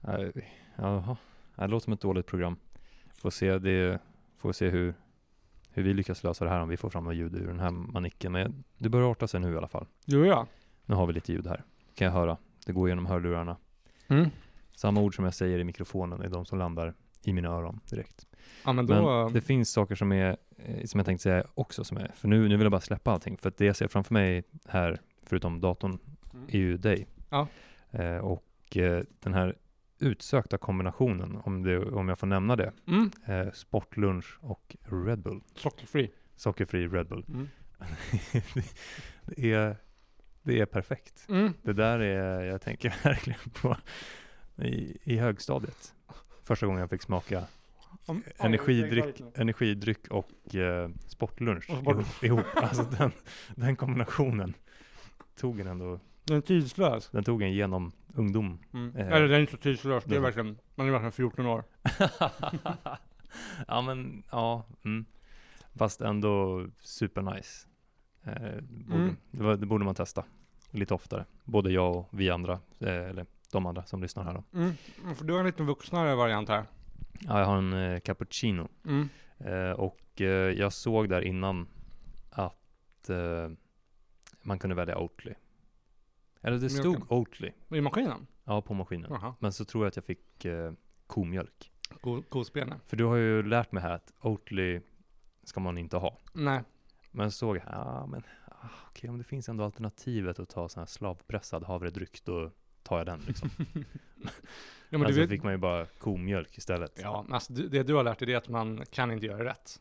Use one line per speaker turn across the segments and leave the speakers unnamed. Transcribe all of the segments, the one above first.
Nej, Jaha, Ja, det låter som ett dåligt program. Får se, det, får se hur, hur vi lyckas lösa det här om vi får fram något ljud ur den här manicken. Men det börjar arta sig nu i alla fall.
Jo, ja.
Nu har vi lite ljud här, kan jag höra. Det går genom hörlurarna.
Mm.
Samma ord som jag säger i mikrofonen är de som landar i mina öron direkt.
Ja, men då...
Men det finns saker som, är, eh, som jag tänkte säga också, som är, för nu, nu vill jag bara släppa allting, för att det jag ser framför mig här, förutom datorn,
Mm.
är ju dig.
Ja.
Eh, och eh, den här utsökta kombinationen, om, det, om jag får nämna det,
Mm.
eh, sportlunch och Red Bull.
Sockerfree.
Sockerfri Red Bull.
Mm.
det, är, det är perfekt.
Mm.
Det där är, jag tänker verkligen på i, i högstadiet. Första gången jag fick smaka
Om-
Energidryck. energidryck och eh, sportlunch
Och sport-
ihop. ihop. Alltså den, den kombinationen tog en ändå,
Den är tidslös.
den tog en genom ungdom.
Mm.
Eh.
Eller den är inte så tidslös. Det är
Den-
verkligen, man är verkligen 14 år.
ja men, ja. Mm. Fast ändå supernice. Eh, det borde,
Mm.
det, var, det borde man testa lite oftare. Både jag och vi andra, eh, eller de andra som lyssnar här då.
Mm. Mm, För du har en lite vuxnare variant här.
Ja, jag har en eh, cappuccino.
Mm.
Eh, och eh, jag såg där innan att eh, man kunde välja Oatly. Eller det
Mjölken.
stod Oatly
I maskinen?
ja, på maskinen.
Jaha.
Men så tror jag att jag fick eh, komjölk.
Go- Gospene?
För du har ju lärt mig här att Oatly ska man inte ha.
Nej.
Men jag såg, ja ah, men ah, okej om det finns ändå alternativet att ta sån här slavpressad havredryck då tar jag den liksom.
Ja, men
men alltså
du vet,
fick man ju bara komjölk istället.
ja, men alltså, du- det du har lärt dig det är att man kan inte göra rätt.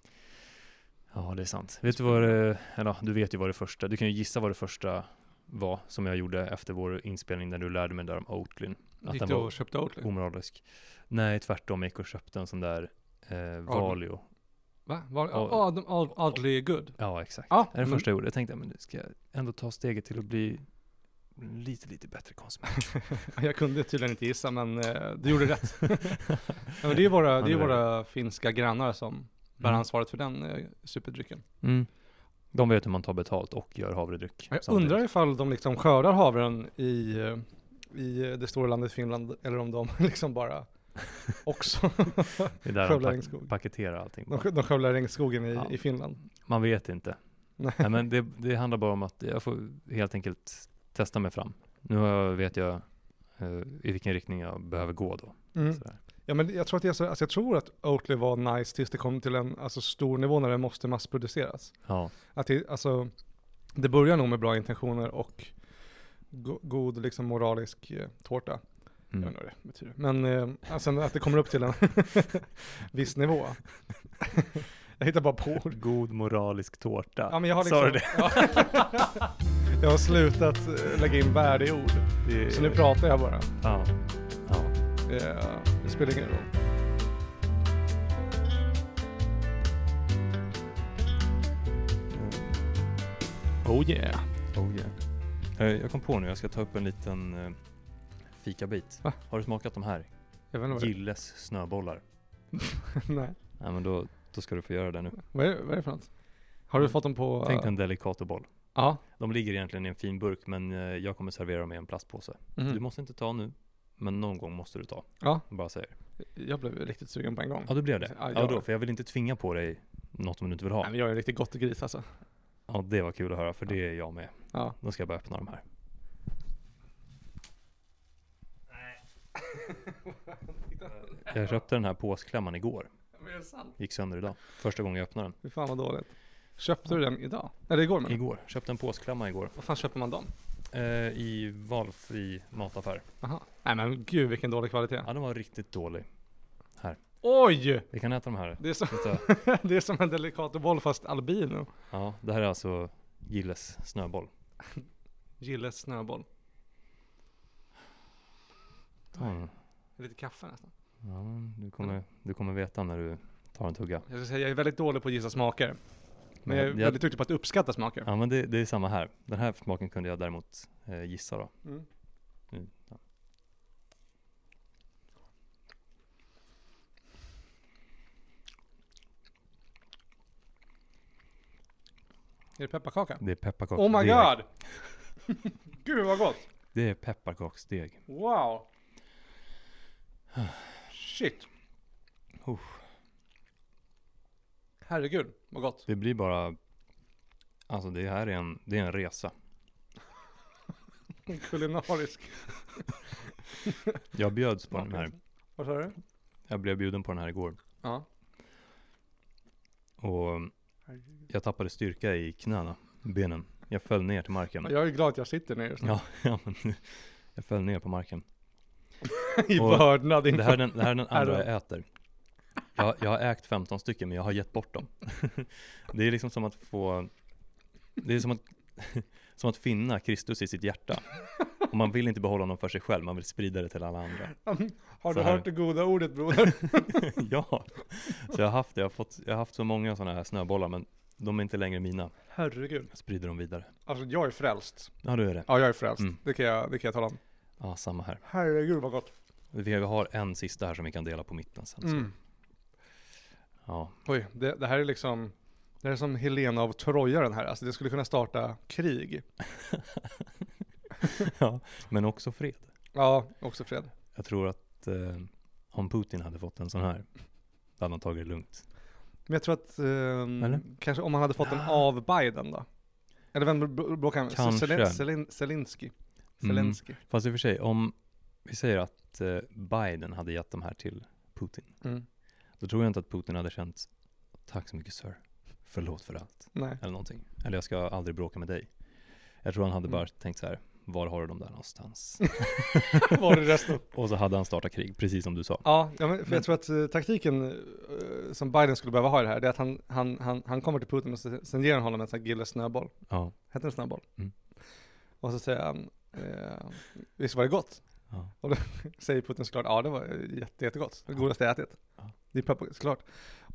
Ja, det är sant. Vet du vad det, eller, ja, du vet ju vad det första, du kan ju gissa vad det första var som jag gjorde efter vår inspelning när du lärde mig där om Oatlyn. Att
Gick
den
du
var
och köpte Oatly?
omoralisk. Nej, tvärtom. Jag gick och köpte en sån där eh, Valio.
Va? Var,
Ja.
oh, de, Oat- Oatly är good.
Ja, exakt.
Ja, Mm.
Det är det
men-
första jag gjorde. Jag tänkte, men nu ska jag ändå ta steget till att bli lite, lite bättre konsument.
Jag kunde tydligen inte gissa, men eh, du gjorde rätt. ja, men det är våra, det är
Ja, det är
våra finska grannar som bär ansvaret för den eh, superdrycken.
Mm. De vet hur man tar betalt och gör havredryck.
Jag
samtidigt.
undrar ifall de liksom skördar havren i, eh, i eh, det stora landet Finland, eller om de liksom bara också
Det är där de
skövlar
pak-
regnskog.
paketerar allting.
De, sk- de skövlar regnskogen i,
Ja.
i Finland.
Man vet inte.
Nej.
Nej, men det, det handlar bara om att jag får helt enkelt testa mig fram. Nu har jag, vet jag eh, i vilken riktning jag behöver gå då.
Mm.
Sådär.
Ja, men jag tror att, det är så, alltså jag tror att Oatly var nice tills det kom till en alltså, stor nivå när det måste massproduceras.
Ja,
Att det, alltså, det börjar nog med bra intentioner och go god liksom, moralisk eh, tårta. Jag vet
mm.
inte vad det betyder. Men eh, alltså, att det kommer upp till en viss nivå. jag hittar bara på ord.
God moralisk tårta.
Ja, men jag har
Sa du
liksom, jag har slutat eh, lägga in värde i ord.
det?
Så nu pratar jag bara.
Ja. ja.
Eh, Det spelar ingen roll. Oh yeah.
Mm. Oh, yeah. Eh, Jag kom på nu, jag ska ta upp en liten eh, fikabit.
Va?
Har du smakat de här?
Jag vet inte vad det
Gilles snöbollar.
Nej.
Nej, men då, då ska du få göra det nu.
Vad är, vad är det för något? Har du fått dem på...
Mm. Tänk dig en delicatoboll.
Ja.
De ligger egentligen i en fin burk, men eh, jag kommer servera dem i en plastpåse.
Mhm.
Du måste inte ta nu, men någon gång måste du ta.
Ja.
Jag Bara säger.
Jag blev riktigt sugen på en gång.
Ja, du blev det.
Ja,
Ja,
jag-
då, för jag vill inte tvinga på dig något om du inte vill
Nej,
ha.
men jag är riktigt gott gris alltså.
Ja, det var kul att höra, för det är jag med.
Ja.
Då ska jag bara öppna de här. Jag köpte den här påsklämman igår.
Men är det sant?
Gick sönder idag. Första gången jag öppnade
Fy fan vad dåligt. Köpte du den idag? Eller igår
den.
men.
Igår. Köpte en påsklämma igår.
Vad fan köper man dem?
Eh, I valfri mataffär.
Aha. Nej men gud vilken dålig kvalitet.
Ja, den var riktigt dålig.
Oj!
Vi kan äta de här.
Det är, som,
Titta.
det är som en Delicatoboll fast albino.
Ja, det här är alltså Gilles snöboll.
Gilles snöboll.
Ta den.
Lite kaffe nästan.
Mm. Ja, men du, kommer, du kommer veta när du tar en tugga.
Jag ska säga jag är väldigt dålig på att gissa smaker. Men jag är
jag-
väldigt duktig på att uppskatta smaker.
Ja men det, det är samma här. Den här smaken kunde jag däremot eh, gissa då.
Mm.
Mm, ja.
Är det pepparkaka?
Det är pepparkaksdeg.
Oh my god! gud vad gott!
Det är pepparkaksdeg.
Wow! Shit. Herregud, vad gott.
Det blir bara, alltså det här är en, det är en resa.
Kulinarisk.
Jag bjöds på den här,
Vad sa du?
jag blev bjuden på den här igår.
Ja.
Och
Herregud.
jag tappade styrka i knäna, benen. Jag föll ner till marken.
Jag är glad att jag sitter ner just nu.
Ja, ja men jag föll ner på marken.
I
Och
vördnad
Det här är
inför.
den, det här är den andra jag äter. Jag, jag har ägt 15 stycken men jag har gett bort dem. Det är liksom som att få, det är som att, som att finna Kristus i sitt hjärta. Och man vill inte behålla honom för sig själv, man vill sprida det till alla andra.
Har
så
du
här.
hört det goda ordet broder?
Ja, så jag har haft det. Jag har, fått, jag har haft så många sådana här snöbollar men de är inte längre mina.
Herregud.
Jag sprider dem vidare.
Alltså jag är frälst.
Ja, du är det.
Ja, jag är frälst.
Mm.
Det, kan jag, det kan jag tala om.
Ja, samma här.
Herregud vad gott.
Vi har en sista här som vi kan dela på mitten sen. så-
Mm.
Ja,
Oj, det, det här är liksom, det här är som Helena av Troja den här. Alltså det skulle kunna starta krig.
ja, men också fred.
Ja, också Fred.
Jag tror att eh, om Putin hade fått en sån här, då hade han tagit det lugnt.
Men jag tror att, ehm,
Eller?
kanske om han hade fått den av Biden då? Eller vem br- bråkar han med?
Kanske.
Zelen- Zelen- Zelensky.
Mm.
Zelensky.
Fast i och för sig, om vi säger att eh, Biden hade gett de här till Putin,
Mm.
då tror jag inte att Putin hade känt Tack så mycket sir, förlåt för allt,
Nej.
eller någonting. Eller jag ska aldrig bråka med dig. Jag tror han hade
Mm.
bara tänkt så här, var har du dem där någonstans?
Var det resten?
Och så hade han startat krig, precis som du sa.
Ja, ja men för
Men-
jag tror att eh, taktiken eh, som Biden skulle behöva ha i det här, det är att han, han, han, han kommer till Putin och sen, sen ger han honom en sån här gille snöboll.
Ja,
Hette den snöboll?
Mm.
Och så säger han, eh, visst var det gott?
ja.
Säger Putin såklart, ja det var eh, jätte, jättegott. Det godaste jag ätit.
Ja.
Det är peppar, såklart.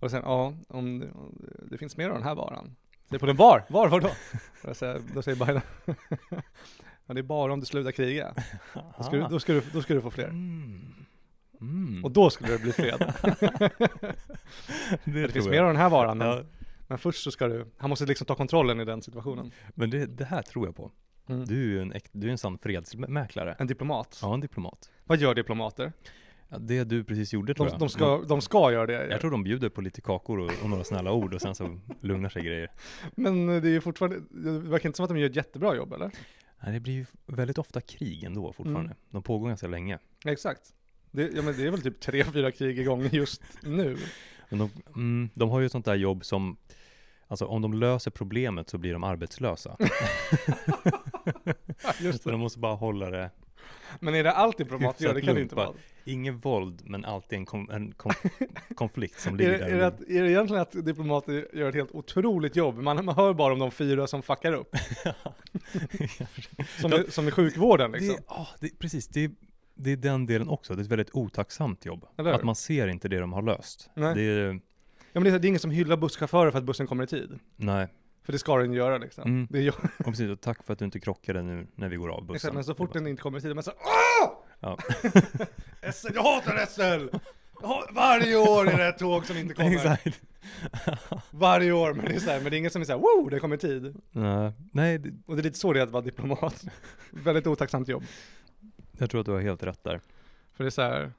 Och sen, ja, om det, om det finns mer av den här varan. Säger Putin, var? Var, var då? Och då säger, då säger Biden, ja det är bara om du slutar kriga. Då ska, du, då, ska du, då ska du få fler.
Ah. Mm. Mm.
Och då skulle det bli fred.
det
Det finns
tror
mer
jag.
av den här varan, men,
Ja,
men först så ska du, han måste liksom ta kontrollen i den situationen.
men det, det här tror jag på.
Mm.
Du är ju en, äkt- du är en sann fredsmäklare.
En diplomat.
Ja, en diplomat.
Vad gör diplomater?
Ja, Det du precis gjorde tror
De,
jag. Mm.
de, ska, de ska göra det.
Jag tror de bjuder på lite kakor och, och några snälla ord och sen så lugnar sig grejer.
Men det är ju fortfarande, det verkar inte som att de gör ett jättebra jobb eller?
Nej, det blir ju väldigt ofta krig ändå fortfarande.
Mm.
De pågår ganska länge.
Exakt. Det, ja men det är väl typ tre, fyra krig igång just nu.
Men de, mm, de har ju ett sånt där jobb som, alltså om de löser problemet så blir de arbetslösa.
Just
så de måste bara hålla det,
Men är det allt diplomater gör? Det kan det inte vara.
Hyfsat inget våld men alltid en, kon- en kon- konflikt som
Är
ligger
det,
där.
är, det att, är det egentligen att diplomater gör ett helt otroligt jobb? Man, man hör bara om de fyra som fuckar upp. Som, i, som i sjukvården liksom.
Det, ja, det, precis, det, det är den delen också. Det är ett väldigt otacksamt jobb.
Eller hur?
Att man ser inte det de har löst.
Nej.
Det är,
Ja, men det, är, så här, det är ingen som hyllar busschaufförer för att bussen kommer i tid.
nej.
För det ska den göra liksom.
Mm.
Det gör,
Och precis, och tack för att du inte krockade nu när vi går av bussen.
exakt, men så fort
Det är
den inte kommer i tid, man säger åh!
Ja.
SL, jag hatar SL! Jag har- Varje år är det ett tåg som inte
bara-
kommer.
Exakt.
Varje år, men det är, så här, men det är ingen som är såhär wow, det kommer i tid.
Nej, nej, det-
Och det är lite så det är att vara diplomat. Väldigt otacksamt jobb.
jag tror att du har helt rätt där.
För det är så här.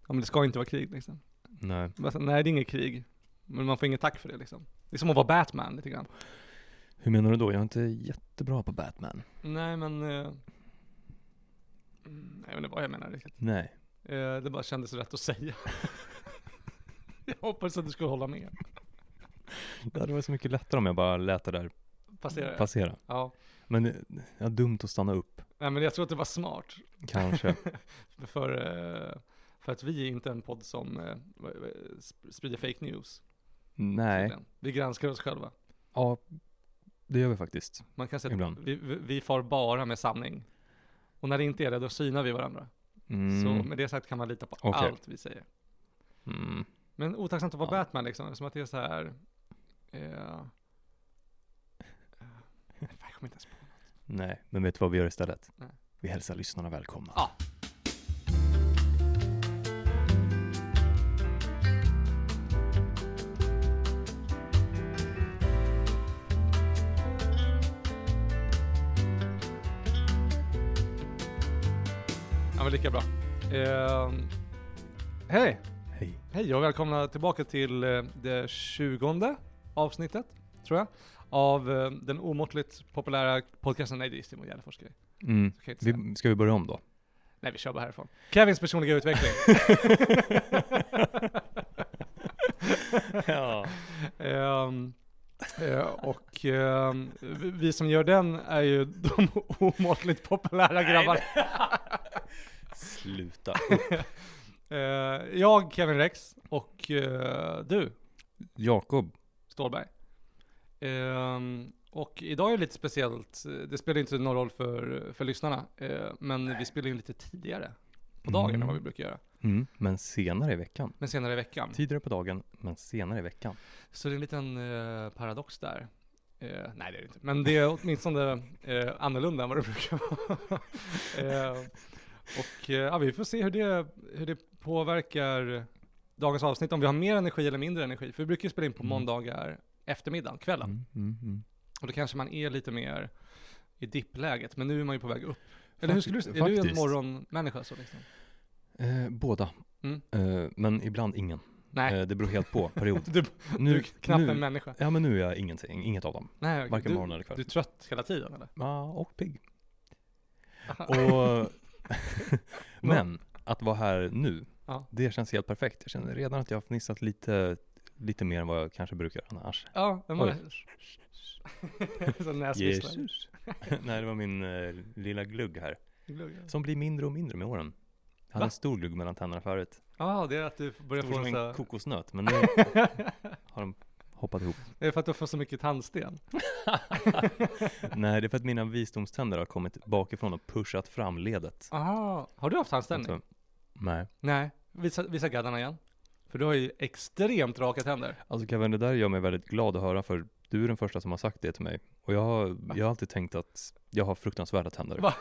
Ja men det ska inte vara krig liksom.
Nej.
Men så- Nej det är inget krig. Men man får inget tack för det liksom. Det är som att vara Batman lite grann.
Hur menar du då? Jag är inte jättebra på Batman.
Nej men... Eh, mm, jag vet inte vad jag menar riktigt.
Nej.
Eh, det bara kändes rätt att säga. jag hoppades att du skulle hålla med.
Det hade varit så mycket lättare om jag bara lät det där
Passerar jag?
passera.
Ja.
Men det- ja, dumt att stanna upp,
Nej men jag tror att det var smart.
kanske.
För, eh, för att vi är inte en podd som eh, vad- vad- sp- sprider fake news.
nej.
tydligen. Vi granskar oss själva.
Ja, det gör vi faktiskt.
Man kan säga
Ibland.
att vi, vi- vi far bara med sanning. Och när det inte är det, då synar vi varandra.
Mm.
Så med det sagt kan man lita på
Okej.
allt vi säger.
Mm.
Men otacksamt att vara
Ja.
Batman liksom, som att det är så här... Eh, eh, jag kommer inte ens på.
Nej, men vet du vad vi gör istället?
Nej.
Vi hälsar lyssnarna välkomna.
Ja. Ja men lika bra. Ehm, Hej!
Hej.
Hej och välkomna tillbaka till eh, det tjugonde avsnittet, tror jag, av eh, den omåttligt populära podcasten Nej, det är Simon Gärdenfors grej.
Mm.
Så kan jag inte säga.
Vi, ska vi börja om då?
Nej, vi kör bara härifrån. Kevins personliga utveckling.
ja.
Ehm, eh, och ehm, vi- vi som gör den är ju de omåttligt populära grabbarna.
Sluta.
Eh, jag, Kevin Rex, och eh, du,
Jakob.
Stålberg. Ehm, och idag är det lite speciellt. Det spelar inte någon roll för, för lyssnarna, eh, men vi spelar in lite tidigare på dagen än vad vi Mm. brukar göra.
Mm. Men senare i veckan.
Men senare i veckan.
Tidigare på dagen, men senare i veckan.
Så det är en liten eh, paradox där. Eh, nej det är det inte, men det är åtminstone eh, annorlunda än vad det brukar vara. eh, och eh, ja, vi får se hur det, hur det påverkar dagens avsnitt, om vi har mer energi eller mindre energi. För vi brukar ju spela in på
Mm.
måndagar eftermiddag, kvällen.
Mm, mm, mm.
Och då kanske man är lite mer i dippläget, men nu är man ju på väg upp. Eller hur skulle du
Fakti-
säga? Är du en
faktiskt.
morgonmänniska så liksom?
Eh, båda.
Mm.
Eh, men ibland ingen.
Nej,
Eh, det beror helt på period.
du, du är knappt en människa.
Ja men nu är jag ingenting, inget av dem.
Nej, okej.
Varken
du,
morgon eller kväll.
du är trött hela tiden eller?
Ja, och pigg. Och, men att vara här nu,
Ja.
det känns helt perfekt. Jag känner redan att jag har fnissat lite, lite mer än vad jag kanske brukar annars.
Ja, den var
Oj.
Så näsvisslar.
Nej, det var min eh, lilla glugg här.
Glugg.
Som blir mindre och mindre med åren. Jag hade
Va?
en stor glugg mellan tänderna förut.
Ja, det är att du börjar
Stor
få
som en
en så här-
kokosnöt, men nu har de hoppat ihop.
Är det för att du får så mycket tandsten?
Nej, det är för att mina visdomständer har kommit bakifrån och pushat fram ledet.
Aha. Har du haft tandställning?
Alltså, nej.
Nej. Visa, visa gaddarna igen. För du har ju extremt raka tänder.
Alltså Kevin, det där gör mig väldigt glad att höra för du är den första som har sagt det till mig. Och jag har, jag har alltid tänkt att jag har fruktansvärda tänder.
Va?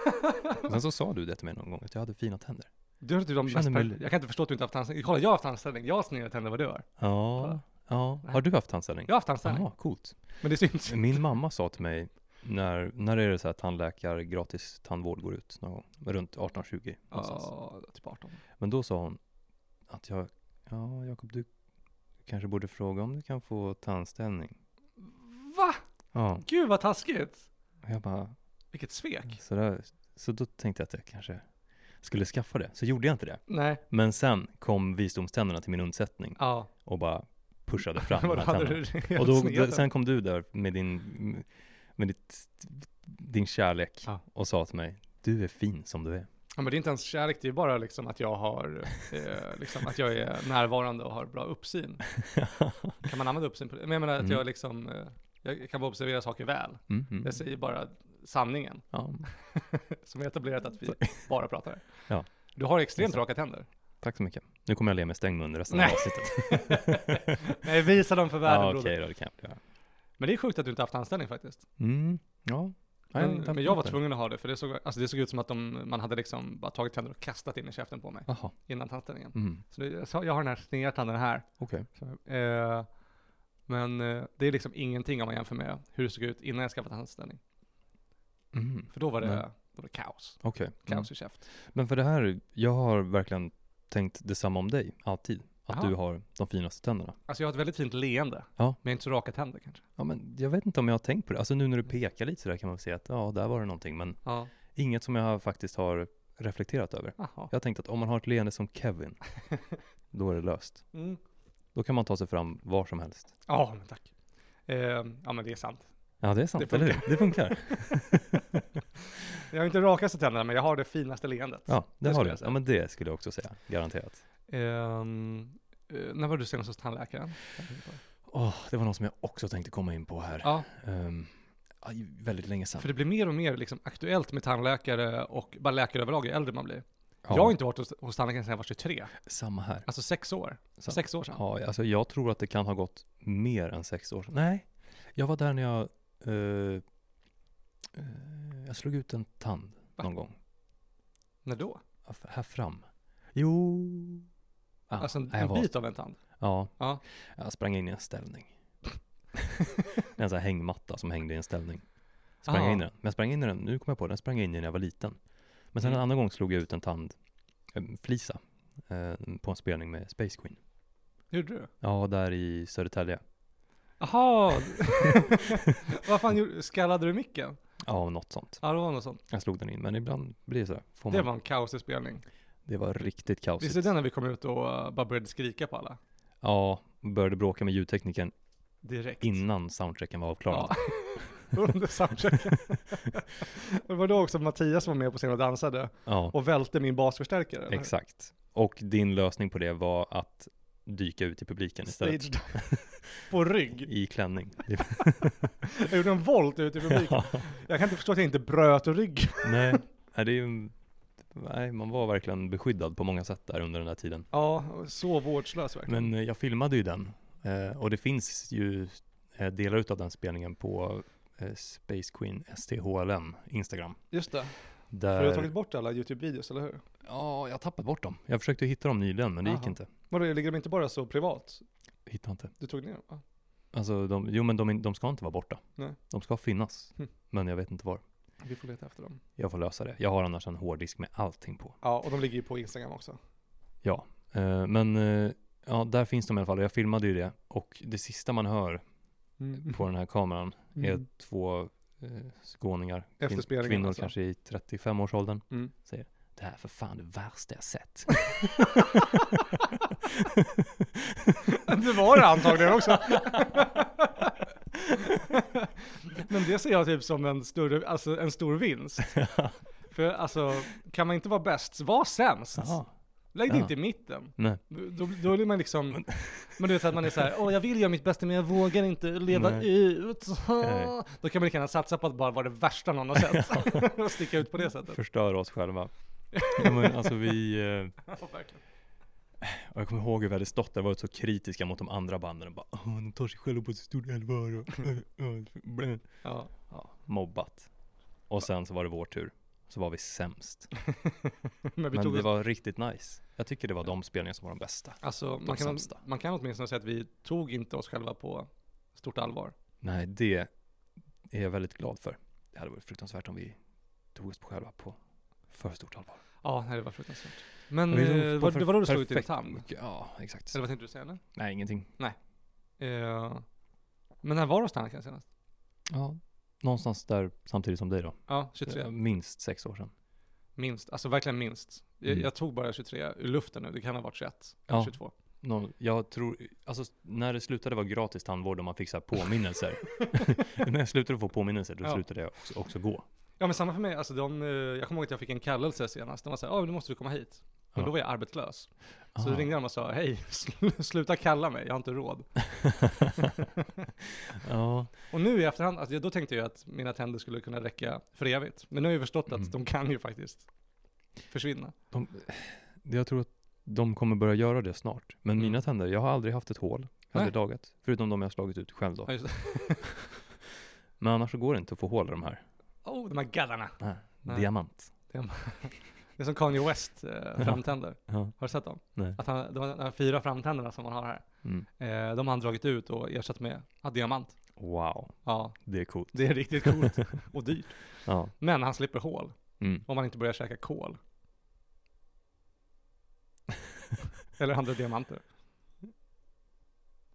Och Sen så sa du det till mig någon gång, att jag hade fina tänder.
Du har typ de
Känner
mest
mig
per-
li-
Jag kan inte förstå att du inte har haft tandställning. Kolla, jag har haft tandställning. Jag har snedare tänder än vad du har.
Ja, ja. Har du haft tandställning?
Jag har haft tandställning.
Ja, coolt.
Men det syns.
Min mamma sa till mig, när, när är det så här tandläkare, gratis tandvård går ut någon gång? Runt 18-20 någonstans.
Ja, typ 18.
Men då sa hon att jag, ja Jakob du kanske borde fråga om du kan få tandställning.
Va?
Ja,
Gud vad taskigt.
och jag bara,
Vilket svek.
så, där, så då tänkte jag att jag kanske skulle skaffa det. Så gjorde jag inte det.
Nej.
Men sen kom visdomständerna till min undsättning
Ja.
och bara pushade fram de
Då
här
hade
tänderna.
du rejält
Och då,
sneda
d- sen kom du där med din, med ditt, din kärlek
Ja.
och sa till mig, du är fin som du är.
Ja, men det är inte ens kärlek, det är bara liksom att jag har, eh, liksom att jag är närvarande och har bra uppsyn. Kan man använda uppsyn på det? Men jag menar att
Mm.
jag liksom, eh, jag kan bara observera saker väl.
Mm, mm.
Jag säger bara sanningen,
ja,
som är etablerat att vi bara pratar.
Ja.
Du har extremt
Just det.
raka tänder.
tack så mycket. Nu kommer jag le med stängd mun resten av
Nej.
avsnittet.
Nej, visa dem för världen
Ja,
broder.
okej då, det kan jag göra.
Men det är sjukt att du inte haft anställning faktiskt.
Mm, ja. Nej,
Men,
inte haft
men jag var
något där.
tvungen att ha det, för det såg, alltså det såg ut som att de, man hade liksom bara tagit tänder och kastat in i käften på mig
Jaha,
innan tandställningen.
mm,
Så det, så jag har den här sneda tanden här.
okej.
Så, eh, men eh, det är liksom ingenting om man jämför med hur det såg ut innan jag skaffade anställning.
Mm,
För då var det,
Nej.
då var det kaos.
okej. Mm.
Kaos i käft.
Men för det här, jag har verkligen tänkt detsamma om dig, alltid. Att
Jaha.
du har de finaste tänderna.
Alltså jag har ett väldigt fint leende.
Ja.
Men jag har inte så raka tänder kanske.
Ja, men jag vet inte om jag har tänkt på det. Alltså nu när du pekar lite sådär kan man se att ja, där var det någonting. Men
Ja.
inget som jag har faktiskt har reflekterat över.
Jaha.
Jag har tänkt att om man har ett leende som Kevin, då är det löst.
Mm.
Då kan man ta sig fram var som helst.
Ja, men tack. Eh, ja, men det är sant.
Ja, det är sant,
Det
eller hur? Det funkar.
Jag har inte rakaste tänderna, men jag har det finaste leendet.
Ja, det,
Det
har
skulle
du.
jag säga.
Ja, men det skulle jag också säga, garanterat.
Ehm, eh, när var du senast hos tandläkaren?
Åh, det var något som jag också tänkte komma in på här.
Ja,
Ehm, aj, väldigt länge sedan.
för det blir mer och mer liksom aktuellt med tandläkare och bara läkare överlag ju äldre man blir.
Ja,
Jag har inte varit hos, hos tandläkaren sedan jag var 23.
Samma här.
Alltså sex år.
Så-
Sex år sedan.
Ja, alltså jag tror att det kan ha gått mer än sex år. Nej, jag var där när jag, eh, eh, jag slog ut en tand
Va?
någon gång.
När då?
Här- Här fram. Jo. Ah,
alltså en,
nej, jag
en
var-
bit av en tand?
Ja.
Ja.
Jag sprang in i en ställning. Det är en sån här hängmatta som hängde i en ställning. Sprang jag
Ah.
in i den. Men jag sprang in i den, nu kom jag på det, den sprang jag in i när jag var liten. Men sen en
Mm.
annan gång slog jag ut en tand eh, flisa eh, på en spelning med Space Queen.
Gjorde du?
Ja, där i Södertälje.
Jaha! Vad fan gjorde Skallade du micken?
Ja, något sånt.
Ja, det var något sånt.
Jag slog den in, men ibland blir det sådär. Får
Det
man,
var en kaosig spelning.
det var riktigt
Visst är
kaosigt.
det när vi kom ut och eh, bara började skrika på alla?
Ja, började bråka med ljudteknikern
Direkt.
innan soundchecken var avklarad.
Ja. Under soundchecken. det var då också Mattias var med på scenen och dansade
Ja,
och välte min basförstärkare.
exakt. Och din lösning på det var att dyka ut i publiken istället.
Stage på rygg.
I klänning. Det-
Jag gjorde en volt ut i publiken.
Ja.
Jag kan inte förstå att jag inte bröt ryggen.
Nej, nej, det är ju, nej, man var verkligen beskyddad på många sätt där under den där tiden.
Ja, så vårdslös verkligen.
Men eh, jag filmade ju den eh, och det finns ju eh, delar utav den spelningen på eh, Space Queen STHLM Instagram.
Just det. För du har
Där,
tagit bort alla YouTube-videos, eller hur?
ja, jag har tappat bort dem. Jag försökte hitta dem nyligen, men det gick
Aha.
inte.
Vadå, ligger de inte bara så privat?
Hittade inte.
Du tog ner dem? va?
Alltså, de, jo men de, de ska inte vara borta.
Nej.
De ska finnas,
Hm.
men jag vet inte var.
Vi får leta efter dem.
Jag får lösa det. Jag har annars en hårddisk med allting på.
Ja, och de ligger ju på Instagram också.
Ja, eh, men eh, ja, där finns de i alla fall. Jag filmade ju det och det sista man hör Eh, på den här kameran är
Mm.
två eh, skåningar, kvin-
Efter spelningen
kvinnor
alltså.
kanske i 35-årsåldern,
Mm.
säger det här är för fan det värsta jag sett.
Det var det antagligen också. Men det ser jag typ som en, större, alltså en stor vinst. För alltså, kan man inte vara bäst, var sämst.
Jaha,
Lägg dig
Ja.
inte i mitten.
nej.
Då, då är man liksom, men du vet att man är så här, åh jag vill göra mitt bästa men jag vågar inte leva
Nej.
ut.
Nej.
Då kan man lika gärna satsa på att bara vara det värsta någon har sett. och sticka ut på det sättet.
Förstör oss själva. Ja, men, alltså vi, eh,
Ja, verkligen.
Och jag kommer ihåg hur vi hade stått där och varit så kritiska mot de andra banden och bara "Åh, de tar sig själva på så stort allvar och blä."
Ja.
ja, mobbat. Och sen så var det vår tur. Så var vi sämst.
Men vi
Men
tog
det
oss,
var riktigt nice. Jag tycker det var de spelningar som var de bästa.
alltså, man, kan,
sämsta.
man kan åtminstone säga att vi tog inte oss själva på stort allvar.
Nej, det är jag väldigt glad för. Det hade varit fruktansvärt om vi tog oss på själva på för stort allvar.
Ja, nej, det var fruktansvärt. Men
Vi tog
eh,
på
var,
för-
det var då du slog ut din
liksom perfekt
tand?
mycket. Ja, exakt.
Eller vad tänkte du säga nu?
Nej, ingenting.
Eh, men när var du hos tandläkaren senast?
Ja, någonstans där samtidigt som dig då.
Ja, 23.
Minst sex år sedan.
Minst. Alltså verkligen minst. Jag,
Mm.
jag tog bara 23 ur luften nu. Det kan ha varit 21.
Ja.
22.
Nå- jag tror, alltså när det slutade vara gratis tandvård och man fick så här påminnelser. när jag slutade få påminnelser, då
Ja.
slutade jag också, också gå.
Ja men samma för mig. Alltså, de, eh, jag kommer ihåg att jag fick en kallelse senast. De var såhär, ja nu måste du komma hit. Men
Ja.
då var jag arbetslös. Så
Ah.
ringde de och sa, hej, sl- sluta kalla mig, jag har inte råd.
ja,
Och nu i efterhand, alltså, då tänkte jag att mina tänder skulle kunna räcka för evigt. Men nu har jag ju förstått att
Mm.
de kan ju faktiskt försvinna.
de, jag tror att de kommer börja göra det snart. Men
Mm.
mina tänder, jag har aldrig haft ett hål. Jag har
Nej.
aldrig dagat. Förutom de jag har slagit ut själv då.
Ja, just det.
Men annars så går det inte att få hål i de här.
Oh, de här gaddarna.
Nej.
Nej.
Diamant.
Det är som Kanye West eh, framtänder.
Ja.
Har du sett dem?
Nej.
Att han, de här fyra framtänderna som han har här,
Mm.
eh, de har han dragit ut och ersatt med ja, diamant.
Wow,
Ja,
det är coolt.
det är riktigt coolt och dyrt.
Ja.
Men han slipper hål
Mm.
om han inte börjar käka kol. Eller andra diamanter.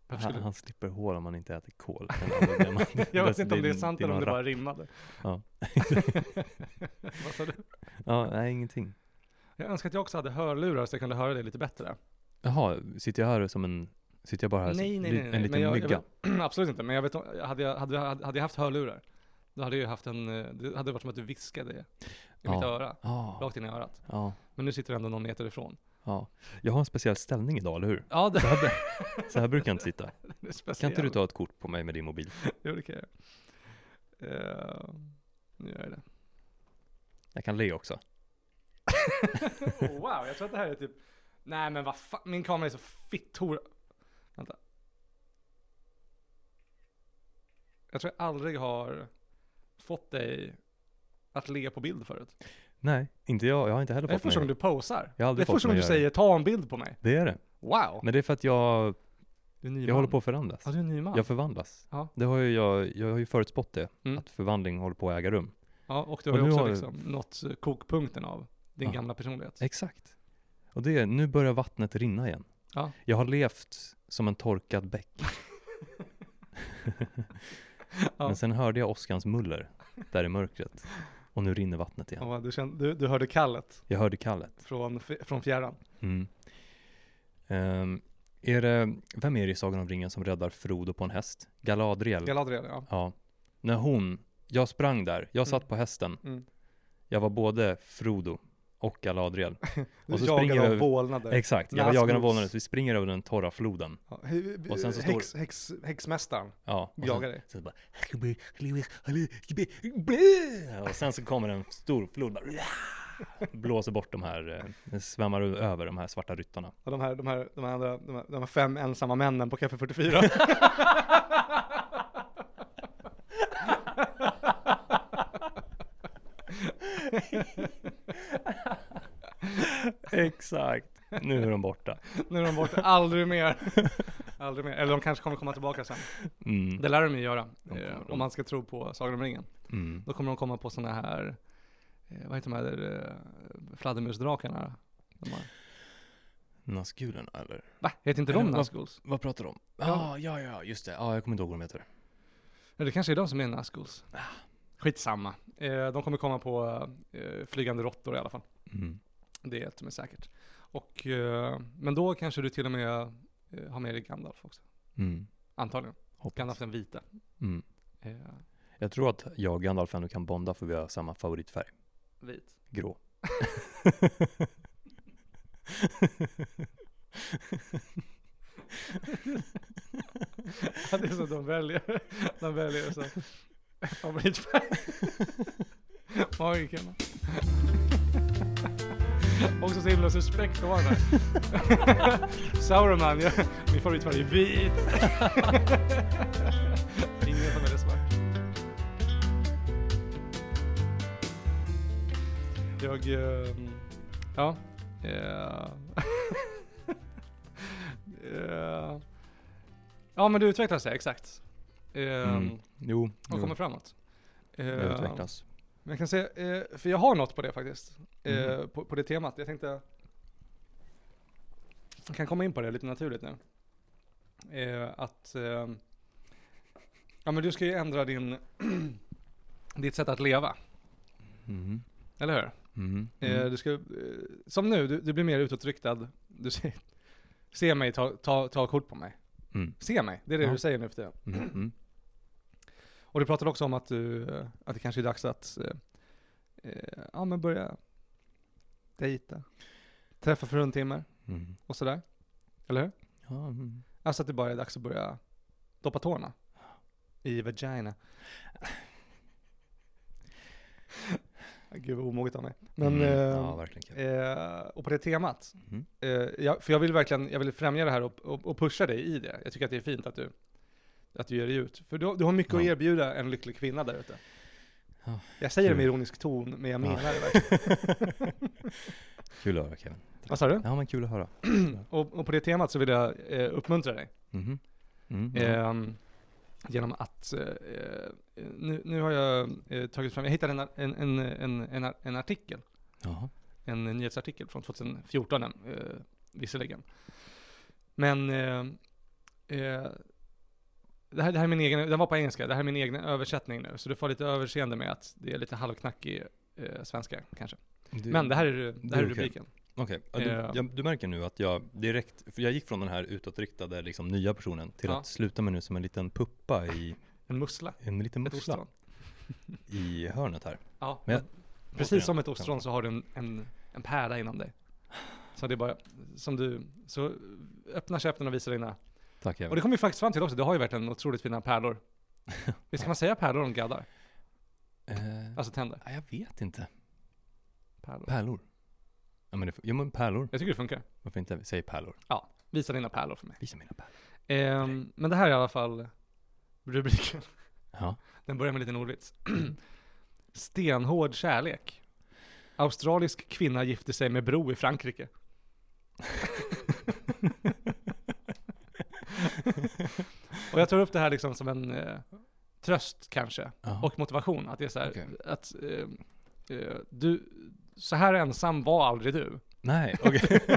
Varför
Han,
skulle...
han slipper hål om man inte äter kol. eller andra diamanter. Alltså,
Jag vet
Det-
inte om det är sant eller
någon
om det
rap-
bara rimmade.
Ja.
Vad sa du?
Ja, nej ingenting.
Jag önskar att jag också hade hörlurar så jag kunde höra det lite bättre.
Jaha, sitter jag här som en, sitter jag bara här
Nej,
som
nej,
li-
nej, nej,
en
men
liten
jag- jag
mygga?
Absolut inte, men jag vet om- hade jag, hade, jag- hade jag haft hörlurar, då hade jag ju haft en, eh, det hade varit som att du viskade i
Ja.
mitt öra,
Ja,
rakt in i örat.
Ah, ja,
Men nu sitter det ändå någon meter ifrån.
ja. Jag har en speciell ställning idag, eller hur?
Ja, det,
Så här, så här brukar jag inte sitta.
det är
Kan
speciellt.
inte du ta ett kort på mig med din mobil?
Jo, det kan jag göra. Eh, Nu gör jag det.
Jag kan le också.
oh, wow, jag tror att det här är typ, nej men vad fan, min kamera är så fitthora. Vänta. Jag tror jag aldrig har fått dig att le på bild förut.
Nej, inte jag. Jag har inte heller
Det är
fått
första
mig
gången du posar.
Jag har
Det är
aldrig
första
fått
gången
mig
du
att göra
säger ta en bild på mig.
det. Det är det.
Wow!
Men det är för att jag,
Du är ny
jag håller på att förändras.
Ja, du är ny man.
Jag förvandlas.
Ja.
Det har ju jag, jag har ju förutspått det,
Mm.
att förvandling håller på att äga rum.
Ja, och du
Och
har ju
nu
också
har-
liksom nått eh, kokpunkten av din
Ja.
gamla personlighet.
Exakt. Och det är, nu börjar vattnet rinna igen.
Ja.
Jag har levt som en torkad bäck.
Ja.
Men sen hörde jag åskans muller där i mörkret. Och nu rinner vattnet igen.
Ja, du, kände, du, du hörde kallet
Jag hörde kallet.
från, f- från fjärran.
Mm. Ehm, är det, vem är det i Sagan om ringen som räddar Frodo på en häst? Galadriel?
Galadriel, ja.
Ja. När hon, jag sprang där, jag satt
Mm.
på hästen.
Mm.
Jag var både Frodo och Galadriel.
Du
Och så
jagar
springer
av
vi-
vålnader.
Exakt, jag var jagaren av
Nazgûls.
vålnaden. så Vi springer över den torra floden.
Ja, hu-
och sen så står-
häx, häx, häxmästaren
Ja. och
jagar dig.
sen, sen bara, och sen så kommer en stor flod. Bara, blåser bort de här, eh, svämmar över de här svarta ryttarna.
Och de här, de här, de här, andra, de här, de här fem ensamma männen på Café 44.
Exakt. Nu är de borta.
nu är de borta, aldrig mer. Aldrig mer. Eller de kanske kommer komma tillbaka sen.
Mm.
Det lär de ju göra.
De
eh,
kommer-
om man ska tro på Sagan om ringen.
Mm.
Då kommer de komma på sådana här, eh, vad heter de här eh, fladdermusdrakarna? De här.
Nazgulen eller?
Va? Heter inte
Eller
de
vad-
Nazguls?
Vad pratar du om? Ja, ja, ja, just det. Ja, jag kommer inte ihåg vad de heter.
Ja, det kanske är de som är Nazguls. Skitsamma. Eh, de kommer komma på eh, flygande råttor i alla fall.
Mm.
Det är ett som är säkert. Och, eh, men då kanske du till och med eh, har med dig Gandalf också.
Mm.
Antagligen.
Hoppas.
Gandalf den vita.
Mm.
Eh,
Jag tror att jag och Gandalf ändå kan bonda för vi har samma favoritfärg.
vit.
Grå.
Ja, det är så de väljer. De väljer så. Favoritfärg. Magikerna. Också så himla suspekt att vara där. Sauron, ja, min favoritfärg är vit. Ingen som är det svart. Jag, ehm, ja. eh, eh, ja men du utvecklas ja, exakt. Ehm,
Mm. Jo,
Och kommer
jo.
framåt. Eh,
jag utvecklas.
men jag kan säga, eh, för jag har något på det faktiskt. Eh,
Mhm.
på, på det temat. Jag tänkte... Jag kan komma in på det lite naturligt nu. Eh, att... Eh, ja men du ska ju ändra din... ditt sätt att leva.
Mm.
Eller hur?
Mm.
Eh,
Mm.
du ska, eh, som nu, du, du blir mer utåtriktad. Du ser, se mig, ta, ta, ta kort på mig.
Mm.
Se mig, det är det
Ja.
du säger nu för tiden.
Mm. Mm.
Och du pratade också om att, du, eh, att det kanske är dags att eh, eh, ja, men börja dejta, träffa för rundtimmar
Mm.
och sådär. Eller hur?
Ja, mm.
Alltså att det bara är dags att börja doppa tårna i vagina. Gud vad omoget av mig. Men,
Mm.
eh,
ja, verkligen kul.
eh, och på det temat,
Mm.
eh, jag, för jag vill verkligen jag vill främja det här och, och, och pusha dig i det. Jag tycker att det är fint att du, att du ger dig ut. För du, har- du har mycket att
Ja.
erbjuda en lycklig kvinna där ute.
Ja,
Jag säger det med
kul.
ironisk ton, men jag
Ja.
menar det verkligen.
Kul att höra Kevin.
Vad sa du?
Ja, men kul att höra.
Och, och på det temat så vill jag eh, uppmuntra dig.
Mhm. Mm.
Ehm, genom att, eh, eh, nu, nu har jag eh, tagit fram, jag hittade en, ar- en, en, en, en, ar- en artikel,
Jaha.
en nyhetsartikel från 2014 eh, visserligen. Men eh, eh, det, här, det här är min egen, den var på engelska, det här är min egen översättning nu. Så du får lite överseende med att det är lite halvknackig eh, svenska kanske.
Du-
Men det här är, det här är
okej.
rubriken.
Okej, ja, du,
Eh.
jag, du märker nu att jag direkt, för jag gick från den här utåtriktade liksom, nya personen till
Ja.
att sluta mig nu som en liten puppa i,
En mussla.
en liten
Ett
mussla
ostron.
i hörnet här.
Ja,
Men jag-
precis
återigen,
som ett
kan
ostron så har du en, en, en pärla inom dig. Så det är bara, som du, så öppna käften och visa dina.
Tack
Och det
Kevin.
kommer vi faktiskt fram till också, du har ju verkligen otroligt fina pärlor. Visst kan man säga pärlor om gaddar?
Eh,
Alltså tänder?
ja, jag vet inte.
Pärlor.
Pärlor. Ja men, det, ja, men pärlor.
Jag tycker det funkar.
Varför inte? Säg pärlor.
Visa dina pärlor för mig.
Visa mina pärlor.
Ehm, men det här är i alla fall rubriken.
Ja.
Den börjar med lite ordvits. Stenhård kärlek. Australisk kvinna gifter sig med bro i Frankrike. och jag tar upp det här liksom som en eh, tröst kanske,
Jaha.
och motivation. Att det är så här,
Okej.
att eh, eh, du, så här ensam var aldrig du.
Nej, okej.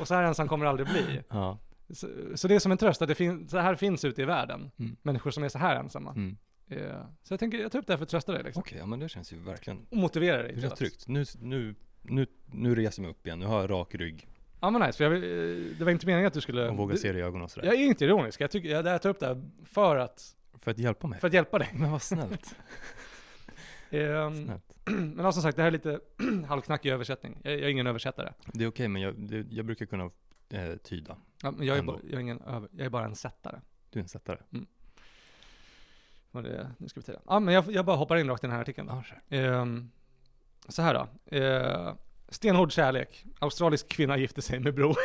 Och så här ensam kommer det aldrig bli.
ja.
Så, så det är som en tröst att det, fin- så här finns ute i världen,
Mm.
människor som är så här ensamma.
Mm.
Eh, Så jag tänker, jag tar upp det här för att trösta dig liksom.
Okej, ja, men det känns ju verkligen
Och motivera dig.
det
till
känns
att-
tryggt. Nu, nu, nu, nu reser jag mig upp igen, nu har jag rak rygg
Ja men nice, för jag, vill- eh, det var inte meningen att du skulle...
och vågar
du,
se dig i ögonen och sådär.
Jag är inte ironisk, jag, tycker, jag, jag tar upp det här för att,
För att hjälpa mig.
för att hjälpa dig.
Men vad snällt.
Ehm,
snällt.
men ja, som sagt, det här är lite halvknackig översättning. Jag, jag är ingen översättare.
Det är okej, men jag, det, jag brukar kunna eh, tyda.
Ja, men jag, är
Ändå.
bara, jag, är ingen över, jag är bara en sättare.
Du är en sättare.
Vad det nu ska betyda. Ja, men jag, jag bara hoppar in rakt i den här artikeln. Då.
Ah, sure.
Ehm, så här då. Eh, stenhård kärlek. Australisk kvinna gifte sig med bror.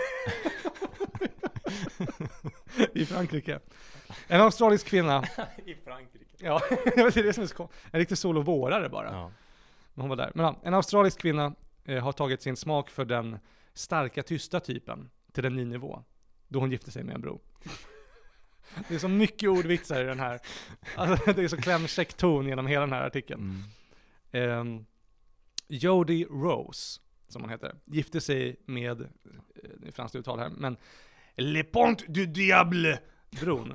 I Frankrike. En australisk kvinna.
I Frankrike.
Ja, jag vet, det är det som är så kon- En riktig sol och vårare bara.
Ja.
Men hon var där. Men ja, en australisk kvinna eh, har tagit sin smak för den starka tysta typen till en ny nivå. Då hon gifte sig med en bro. Det är så mycket ordvitsar i den här. Alltså, det är så klämkäck ton genom hela den här artikeln.
Mm.
Um, Jody Rose, som hon heter, gifte sig med, eh, det är franskt uttal här, men Le Pont du Diable, bron.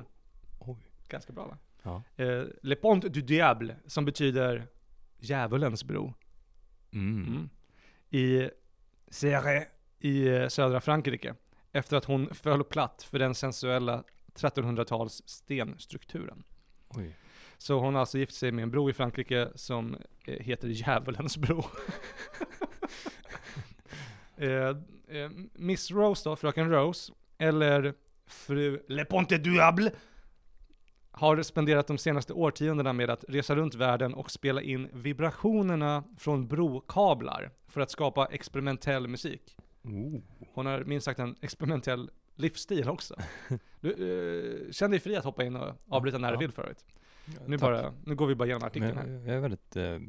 Oj.
Ganska bra va?
Ja.
Eh, Le Pont du Diable, som betyder djävulens bro.
Mm.
Mm. I Serre i eh, södra Frankrike. Efter att hon föll platt för den sensuella 1300-tals stenstrukturen.
Oj.
Så hon har alltså gift sig med en bro i Frankrike som eh, heter Djävulens bro. eh, eh, Miss Rose då, fröken Rose, eller fru Le Ponte Duable har spenderat de senaste årtiondena med att resa runt världen och spela in vibrationerna från brokablar för att skapa experimentell musik.
Oh.
Hon har minst sagt en experimentell livsstil också. Du, eh, känn dig fri att hoppa in och avbryta när du
Ja.
vill för övrigt. Nu,
Tack.
bara, nu går vi bara igenom artikeln
Men
här.
jag, jag är väldigt, eh,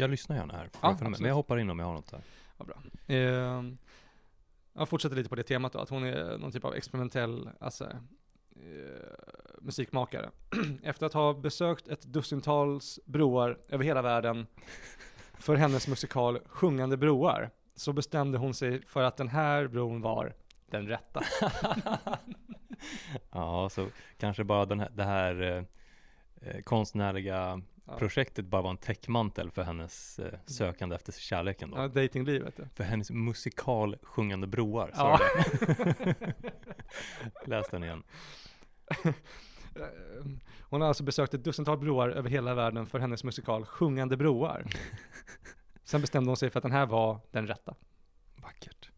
jag lyssnar gärna här. Får
Ja,
jag följa med?
absolut.
Men jag hoppar in om jag har något där.
Vad bra. Ehm, jag fortsätter lite på det temat då, att hon är någon typ av experimentell alltså, eh, musikmakare. Efter att ha besökt ett dussintals broar över hela världen för hennes musikal Sjungande broar så bestämde hon sig för att den här bron var den rätta.
Ja, så kanske bara den här, det här eh, eh, konstnärliga
Ja. Mm.
projektet bara var en täckmantel för hennes eh, sökande efter kärleken då.
Ja, datinglivet.
För hennes musikal Sjungande broar, så
Ja.
var det. Läs den igen.
Eh, Hon har alltså besökt ett dussintal broar över hela världen för hennes musikal Sjungande broar. Sen bestämde hon sig för att den här var den rätta.
Vackert.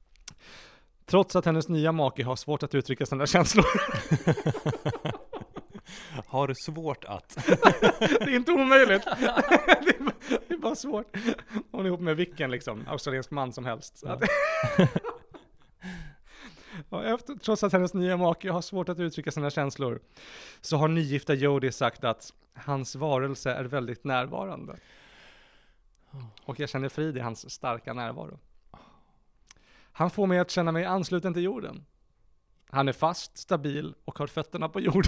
Trots att hennes nya make har svårt att uttrycka sina känslor.
Har du svårt att?
Det är inte omöjligt. Det är, bara, det är bara svårt. Hon är ihop med vilken liksom, australiensk man som helst. Så att, och efter, trots att hennes nya make har svårt att uttrycka sina känslor så har nygifta Jodie sagt att hans varelse är väldigt närvarande. Och jag känner frid i hans starka närvaro. Han får mig att känna mig ansluten till jorden. Han är fast, stabil och har fötterna på jorden.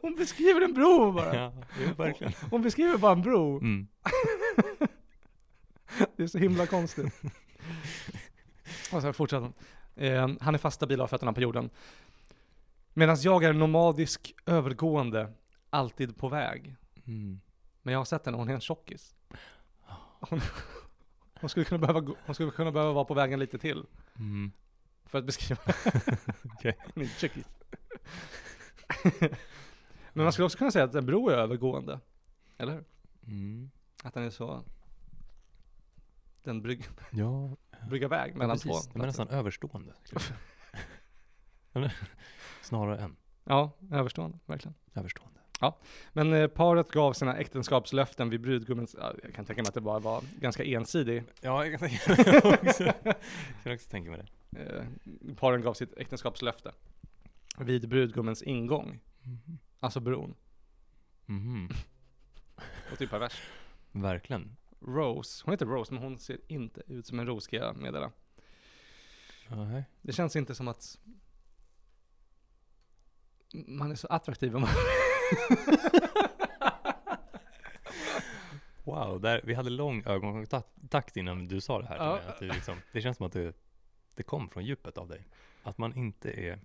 Hon beskriver en bro bara.
Ja, jo, verkligen.
Hon beskriver bara en bro.
Mm.
Det är så himla konstigt. Och sen fortsätter hon. Eh, han är fast stabil av fötterna på jorden. Medan jag är nomadisk, övergående, alltid på väg.
Mm.
Men jag har sett henne, hon är en tjockis. Hon, hon, skulle kunna behöva, gå- hon skulle kunna behöva vara på vägen lite till.
Mm.
För att beskriva.
Okej.
Hon är en tjockis. Men man skulle också kunna säga att en bro är övergående. Eller hur?
Mm.
Att den är så... Den brygg,
Ja,
brygga väg mellan två.
precis. De är
platser.
nästan överstående. skulle jag säga. Eller? Snarare än
Ja, överstående, verkligen.
överstående.
Men eh, paret gav sina äktenskapslöften vid brudgummens, ja, jag kan tänka mig att det bara var ganska ensidig.
Ja, jag kan tänka mig det också. Jag kan också tänka mig det.
Eh, paren gav sitt äktenskapslöfte vid brudgummens ingång,
Mhm.
alltså bron.
Mhm.
Och typ pervers.
Verkligen.
Rose, hon heter Rose men hon ser inte ut som en ros ska jag meddela.
Nej.
Det känns inte som att man är så attraktiv om man...
Wow, där, vi hade lång ögonkontakt innan du sa det här till
Ja.
mig. Att du liksom, det känns som att det, det kom från djupet av dig. Att man inte är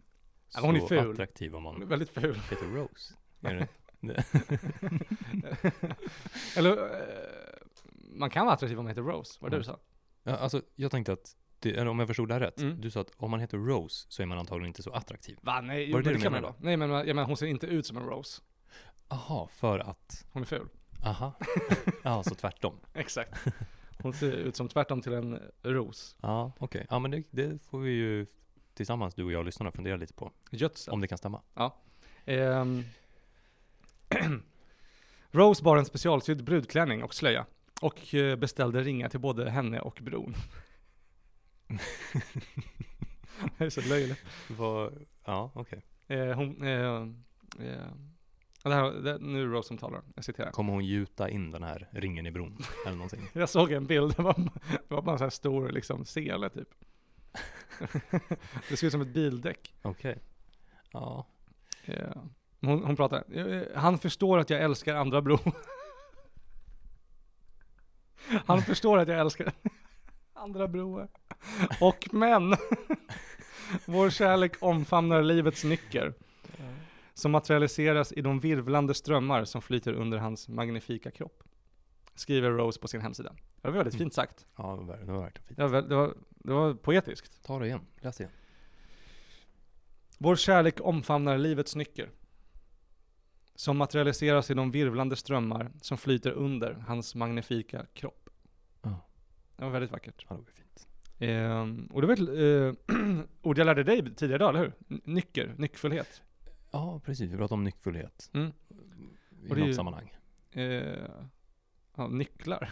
Ja, hon är
så
ful.
attraktiv om
Hon är
man
Väldigt ful.
heter Rose. Är det?
Eller, eh, man kan vara attraktiv om man heter Rose, var det
Mm.
du sa?
Ja, alltså, jag tänkte att, det, eller om jag förstod det här rätt,
Mm.
du sa att om man heter Rose så är man antagligen inte så attraktiv.
Va, nej, jo,
Var det
men
det
det
du
kan man
menade?
vara. Nej, men jag menar, hon ser inte ut som en Rose.
Aha, för att,
Hon är ful.
aha, ja, så tvärtom.
Exakt. Hon ser ut som tvärtom till en ros.
Ja, okej. Ja, men det, det får vi ju tillsammans, du och jag och lyssnarna, fundera lite på.
Gödsel.
Om det kan stämma.
Ehm. Rose bar en specialsydd brudklänning och slöja och eh, beställde ringar till både henne och bron. det är så löjligt.
Vad- ja, okej.
Eh, hon, eh, eh, det här, det, nu är det Rose som talar, jag citerar.
Kommer hon gjuta in den här ringen i bron? Eller någonting?
Jag såg en bild, det var, det var bara en sån här stor liksom, sele typ. det ser ut som ett bildäck.
Okej. Ja.
Eh, Hon, hon pratar, eh, han förstår att jag älskar andra bro. Han förstår att jag älskar andra broar. Och män. Vår kärlek omfamnar livets nycker. Som materialiseras i de virvlande strömmar som flyter under hans magnifika kropp. Skriver Rose på sin hemsida. Det var väldigt
Mm.
fint sagt.
Ja, det var- det var verkligen fint.
Det var, väl- det var, det var poetiskt.
Ta det igen. Läs det igen.
Vår kärlek omfamnar livets nycker. Som materialiseras i de virvlande strömmar som flyter under hans magnifika kropp.
Ja.
Det var väldigt vackert.
Ja, det var fint.
Ehm, och det var ett eh, ord jag lärde dig tidigare idag, eller hur? N- Nycker, nyckfullhet.
Ja, precis. Vi pratade om nyckfullhet.
Mm.
I
är
något
ju-
sammanhang.
Ehm, ja, nycklar.
Ja,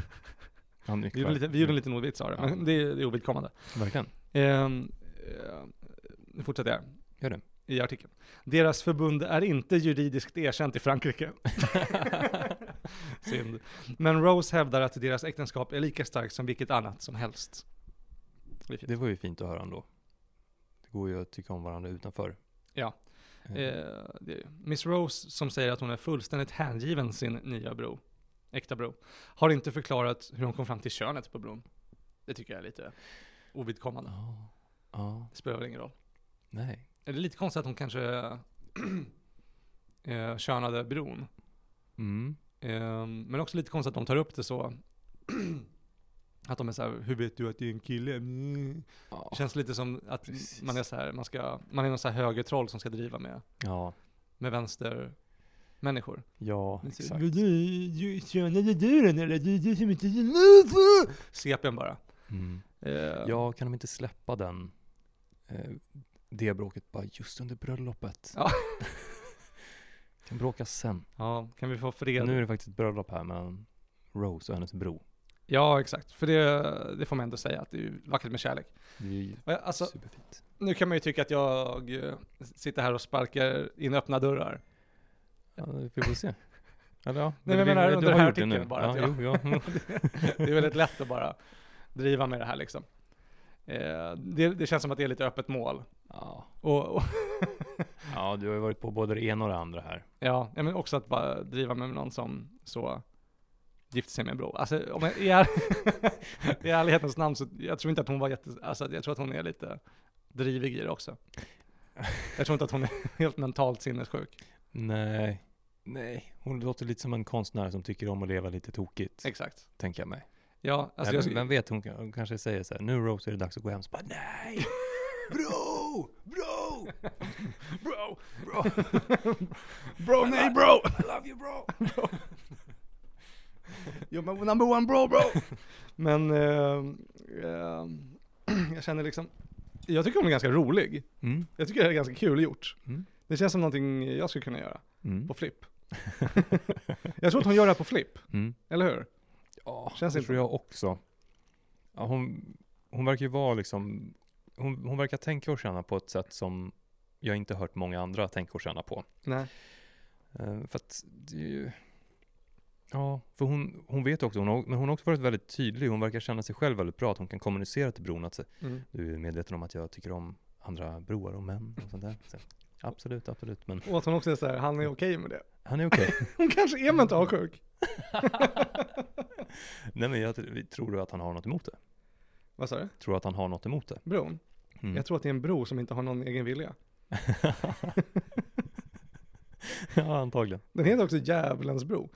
Vi gjorde,
nycklar. Mm.
lite, vi gjorde en liten ordvits av det, men det, är- det är ovidkommande.
Verkligen.
Ehm, eh, nu fortsätter jag
Gör det.
i artikeln. Deras förbund är inte juridiskt erkänt i Frankrike. Synd. Men Rose hävdar att deras äktenskap är lika starkt som vilket annat som helst. Det är fint.
Det var ju fint att höra ändå. Det går ju att tycka om varandra utanför.
Ja.
Eh,
Eh, det är ju. Miss Rose, som säger att hon är fullständigt hängiven sin nya bro, äkta bro, har inte förklarat hur hon kom fram till könet på bron. Det tycker jag är lite ovidkommande.
Ja. Ja.
Det spelar väl ingen roll.
Nej.
Är det lite konstigt att hon kanske eh, könade bron?
Mm.
Eh, men också lite konstigt att de tar upp det så. att de är så här, hur vet du att det är en kille? Mm.
Ja.
Det känns lite som att
Precis.
man är så här, man, ska, man är någon så här högertroll som ska driva med,
Ja.
med vänster människor.
Ja, exakt.
Könade du den eller? Du, du som inte gillar CPn bara.
Mm.
Eh,
Ja, kan de inte släppa den, eh, det bråket bara just under bröllopet?
Ja.
kan bråka sen.
ja, kan vi få fred?
Nu är det faktiskt ett bröllop här med Rose och hennes bro.
Ja, exakt. För det, det får man ändå säga att det är ju vackert med kärlek.
Det är ju
Och jag- Alltså,
superfint.
nu kan man ju tycka att jag eh, sitter här och sparkar in öppna dörrar.
Ja, vi får se. Eller ja,
men
det-
jag menar
du
under
har
den här
gjort det nu.
artikeln bara att
Ja,
jag-
jo, ja. mm.
Det är väldigt lätt att bara driva med det här liksom. Eh, det, det känns som att det är lite öppet mål.
ja.
Och, och
ja, du har ju varit på både det ena och det andra här.
ja, ja, men också att bara driva med någon som så gifte sig med en bror. Alltså om jag, i, är, i ärlighetens namn så jag tror inte att hon var jätte, alltså jag tror att hon är lite drivig i det också. Jag tror inte att hon är helt mentalt sinnessjuk.
Nej. Nej, hon låter lite som en konstnär som tycker om att leva lite tokigt,
Exakt.
tänker jag mig.
Ja, alltså
Eller,
jag,
Vem vet, hon, kan- hon kanske säger så här, nu Rose är det dags att gå hem. Så bara, nej! Bro! Bro!
bro,
Bro!
bro, nej bro!
I love you bro!
You're my number one bro bro! Men eh, eh, jag känner liksom, jag tycker hon är ganska rolig.
Mm,
Jag tycker det här är ganska kul gjort.
mm,
Det känns som någonting jag skulle kunna göra.
mm,
På flipp. jag tror att hon gör det här på flipp,
mm.
eller hur?
Ja,
Känns
det
inte-
tror jag också. Ja, hon, hon verkar ju vara liksom, hon, hon verkar tänka och känna på ett sätt som jag inte hört många andra tänka och känna på.
Nej.
Eh, för att det är ju... Ja, för hon, hon vet också, hon har, men hon har också varit väldigt tydlig. Hon verkar känna sig själv väldigt bra, att hon kan kommunicera till bron att
Mm.
du är medveten om att jag tycker om andra broar och män och sånt där. Så, absolut, absolut, men
Och att hon också är så här, han är okej med det.
han är okej.
Hon kanske är mentalsjuk.
Nej men jag tror du att han har något emot det?
Vad sa du?
Tror du att han har något emot det?
Bron?
Mm.
Jag tror att det är en bro som inte har någon egen vilja.
ja, antagligen.
Den heter också Djävulens bro.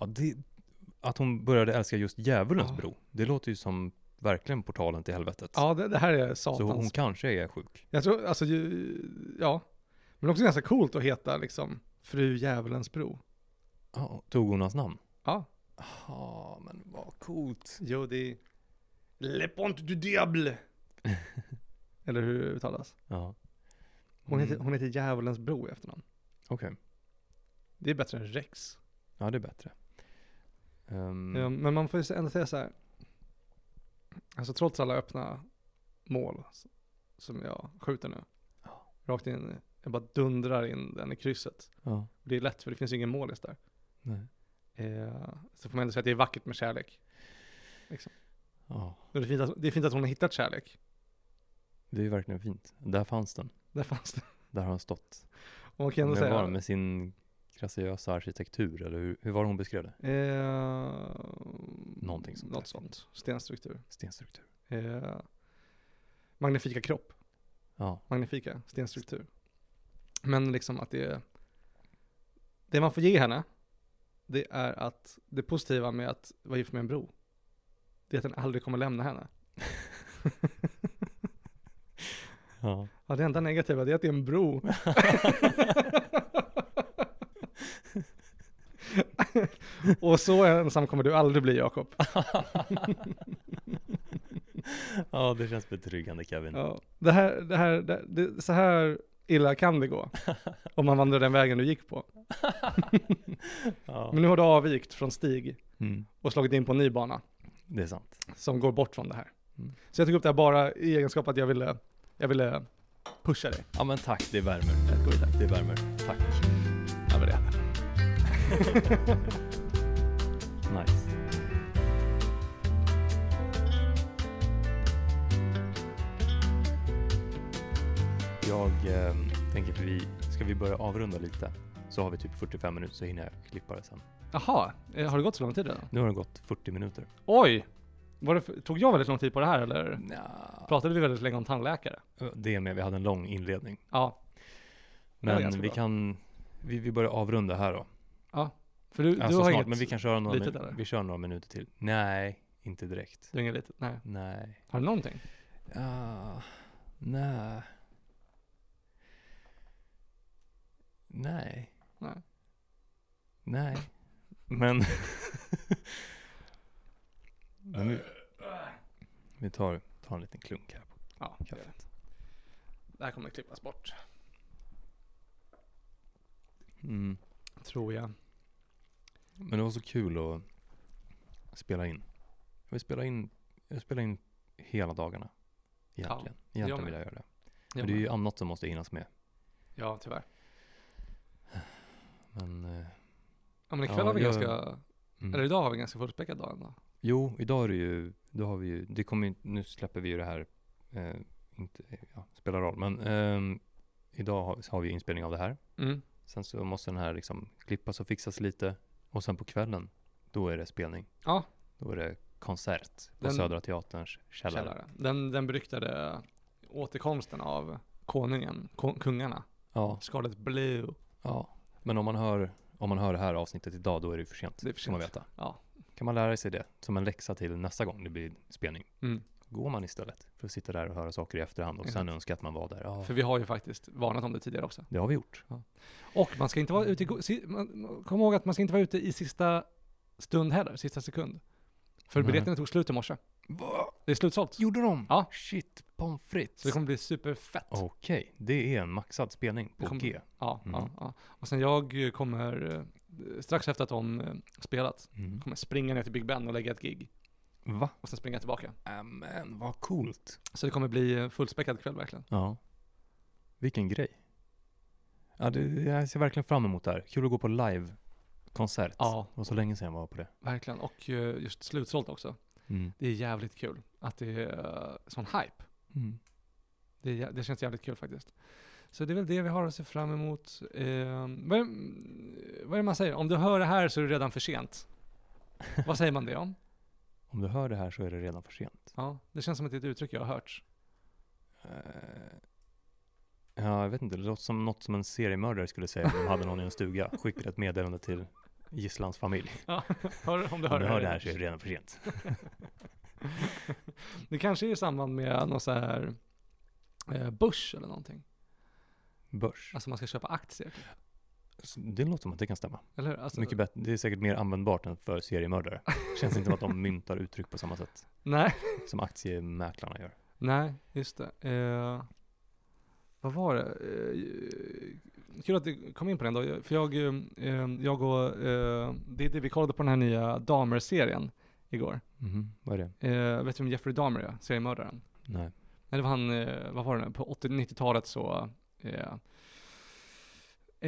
Ja, det, att hon började älska just djävulens
Ja.
bro, det låter ju som verkligen portalen till helvetet.
Ja, det, det här är
Så hon
satans.
kanske är sjuk.
Jag tror, alltså ju, ja. Men också ganska coolt att heta liksom Fru Djävulens bro.
Ja, tog hon hans namn?
Ja.
Ja, men vad coolt.
Jo, det är... Le Pont du Diable! Eller hur det uttalas.
Ja.
Hon heter,
Mm,
hon heter Djävulens bro i efternamn.
Okej,
Det är bättre än Rex.
ja det är bättre. Ehm,
Mm. Ja, men man får ju ändå säga så här. Alltså trots alla öppna mål s- som jag skjuter nu.
Ja.
Rakt in, jag bara dundrar in den i krysset.
ja,
Och det är lätt för det finns ju ingen målis där.
nej.
Eh, så får man ändå säga att det är vackert med kärlek.
Ja,
Och det, är fint att, det är fint att hon har hittat kärlek.
det är ju verkligen fint. Där fanns den.
Där fanns det.
Där har han stått.
Och man kan ändå
Men var
säga...
det med sin graciösa arkitektur, eller hur, hur var det hon beskrev det?
Eh,
Någonting sånt där.
Något sånt. Stenstruktur.
Stenstruktur.
Eh, magnifika kropp.
Ja,
Magnifika stenstruktur. Men liksom att det är... Det man får ge henne, det är att det positiva med att vara gift med en bro, det är att den aldrig kommer lämna henne.
ja.
Ja, det enda negativa det är att det är en bro. Och så ensam kommer du aldrig bli Jakob.
ja, det känns betryggande Kevin.
Ja, det här, det här, det, det, så här illa kan det gå om man vandrar den vägen du gick på.
Ja.
Men nu har du avvikt från stig
Mm,
och slagit in på en ny bana
det är sant.
som går bort från det här.
Mm.
Så jag tog upp det här bara i egenskap att jag ville, jag ville pusha dig.
Ja men tack, det värmer.
Ett gulligt tack.
Det värmer. Tack.
Ja, men det.
Nice. Jag ehm, tänker att vi, ska vi börja avrunda lite? Så har vi typ 45 minuter så hinner jag klippa det sen.
Jaha, eh, har det gått så lång tid redan?
Nu har det gått 40 minuter.
Oj! Var det, för- tog jag väldigt lång tid på det här eller?
Nja.
Pratade vi väldigt länge om tandläkare?
Det med, vi hade en lång inledning.
Ja, Det var
Men
ganska
vi
bra.
kan, vi, vi börjar avrunda här då.
för du,
Alltså
du har
snart,
inget...
men vi kan köra några,
litet,
min-
eller?
vi kör några minuter till. Nej, inte direkt.
Du har inget litet? Nej.
Nej.
Har du någonting?
Ah, nej. Nej.
Nej.
Nej. Men... Men vi, vi tar, tar en liten klunk här på
Ja,
kaffet.
det här kommer klippas bort.
Mm.
Tror jag.
Men det var så kul att spela in. Jag vill spela in, jag spelar in hela dagarna. Egentligen. Egentligen
med.
vill jag göra det.
Ja,
Men det är ju annat som måste hinnas med.
ja tyvärr.
Men, eh,
Ja men ikväll
Ja,
har vi
jag-
ganska,
mm.
eller idag har vi en ganska fullspäckad dag ändå.
Jo, idag är det ju, då har vi ju, det kommer ju, nu släpper vi ju det här, eh, inte, ja, spelar roll, men ehm, idag har, har vi inspelning av det här.
Mm.
Sen så måste den här liksom klippas och fixas lite och sen på kvällen, då är det spelning.
Ja.
Då är det konsert på
Den-
Södra Teaterns källare.
Källare. Den, den beryktade återkomsten av konungen, ko- kungarna,
Ja,
Scarlet Blue.
ja. Men om man hör, om man hör det här avsnittet idag, då är det ju för sent.
Det är för
ska man
sent.
veta.
Ja.
Kan man lära sig det som en läxa till nästa gång det blir spelning?
Mm.
Går man istället för att sitta där och höra saker i efterhand och sen
Exakt.
önska att man var där. Ja,
För vi har ju faktiskt varnat om det tidigare också.
det har vi gjort.
Och man ska inte vara ute i, go- si- man- kom ihåg att man ska inte vara ute i sista stund heller, sista sekund. För
Nej.
biljetterna tog slut i morse.
Va?
Det är slutsålt.
Gjorde de?
Ja.
Shit, pommes frites.
Så det kommer bli superfett.
Okej, det är en maxad spelning på
Det kommer-
G.
Ja, ja,
Mm.
ja. Och sen jag eh, kommer, eh, strax efter att de eh, spelat,
Mm.
kommer springa ner till Big Ben och lägga ett gig.
Va?
Och sen springa tillbaka.
Amen, vad coolt.
Så det kommer bli eh, fullspäckad kväll verkligen.
Ja. Vilken grej. Ja, det, jag ser verkligen fram emot det här. Kul att gå på livekonsert.
Ja.
Och så länge sedan jag var på det.
Verkligen. Och eh, just slutsålt också.
Mm.
Det är jävligt kul att det är eh, sån hype.
Mm.
Det, är, jä- det känns jävligt kul faktiskt. Så det är väl det vi har att se fram emot. Eh, vad, är, vad är det man säger? Om du hör det här så är det redan för sent. vad säger man det om?
Om du hör det här så är det redan för sent.
Ja, det känns som att det är ett uttryck jag har hört.
Eh, Ja, jag vet inte. Det låter som något som en seriemördare skulle säga om de hade någon i en stuga. Skickade ett meddelande till gisslans familj.
Ja, hör, om du
Om
hör,
du hör det här så är det redan för sent.
Det kanske är i samband med någon så här eh, börs eller någonting.
Börs.
Alltså man ska köpa aktier, typ.
Alltså, Det låter som att det kan stämma.
eller hur? Alltså,
Mycket bättre. Det är säkert mer användbart än för seriemördare. Känns inte som att de myntar uttryck på samma sätt
Nej,
som aktiemäklarna gör.
nej, just det. Eh, vad var det? Eh, kul att du kom in på den då, för jag, eh, jag och, eh, det är det vi kollade på den här nya Dahmer-serien igår.
Mhm, Vad är det?
Eh, vet du vem Jeffrey Dahmer är? Seriemördaren.
Nej.
Nej, det var han, eh, vad var det nu, på 80-90-talet så eh,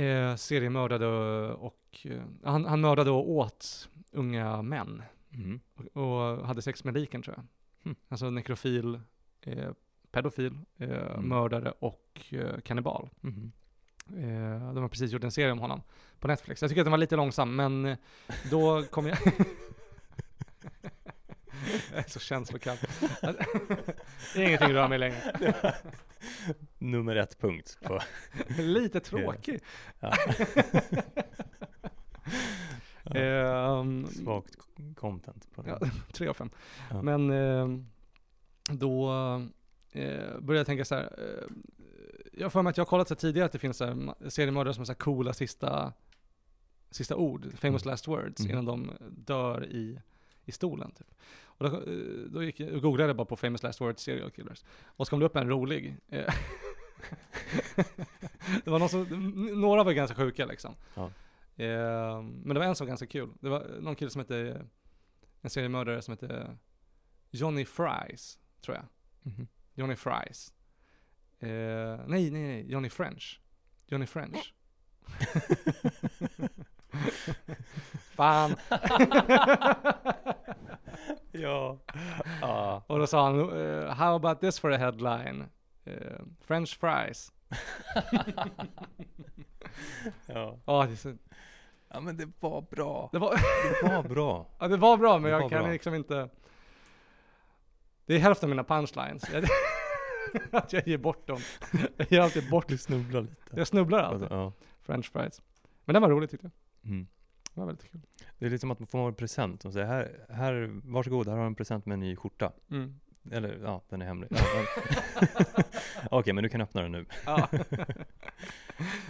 eh, seriemördade och, eh, han, han mördade och åt unga män
Mhm.
och, och hade sex med liken tror jag.
Hmm.
Alltså nekrofil, eh, pedofil, eh, mördare och eh, kannibal.
Mhm.
Eh, de har precis gjort en serie om honom på Netflix. Jag tycker att den var lite långsam, men eh, då kom jag... jag är så känslokall. Ingenting rör mig längre.
Nummer ett punkt på
Lite tråkig.
Ja.
Ehm,
svagt k- content. På
ja,
det.
tre av fem.
Ja.
Men ehm, då eh, började jag tänka så här. eh, jag har för mig att jag har kollat så här tidigare att det finns så här ma- seriemördare som har så här coola sista, sista ord, famous
Mm.
last words,
Mm.
innan de dör i, i stolen. Typ. Och då, eh, då gick jag, googlade jag bara på famous last words serial killers. Och så kom det upp en rolig. eh, det var någon som, n- några var ganska sjuka liksom.
Ja.
Eh, men det var en som var ganska kul. Det var någon kille som hette, en seriemördare som hette Johnny Fries, tror jag.
Mhm.
Johnny Fries. Eh, nej, nej, nej, Johnny French. Johnny French. Fan.
ja. ja.
Och då sa han, eh, how about this for a headline? Eh, French fries.
ja.
Ja, det, är så-
Ja men det var bra.
det, var,
Det var bra.
ja, det var bra, men
Det var
jag kan
bra.
liksom inte... Det är hälften av mina punchlines. Jag, att jag ger bort dem. Jag ger alltid bort.
Du snubblar lite.
Jag snubblar alltid.
Ja.
French fries. Men den var rolig tyckte jag.
Mm.
Den var väldigt kul.
Det är lite som att man får en present och säger här, här, varsågod, här har du en present med en ny skjorta.
Mm.
Eller ja, den är hemlig. Ja, men- Okej, men du kan öppna den nu.
Ja.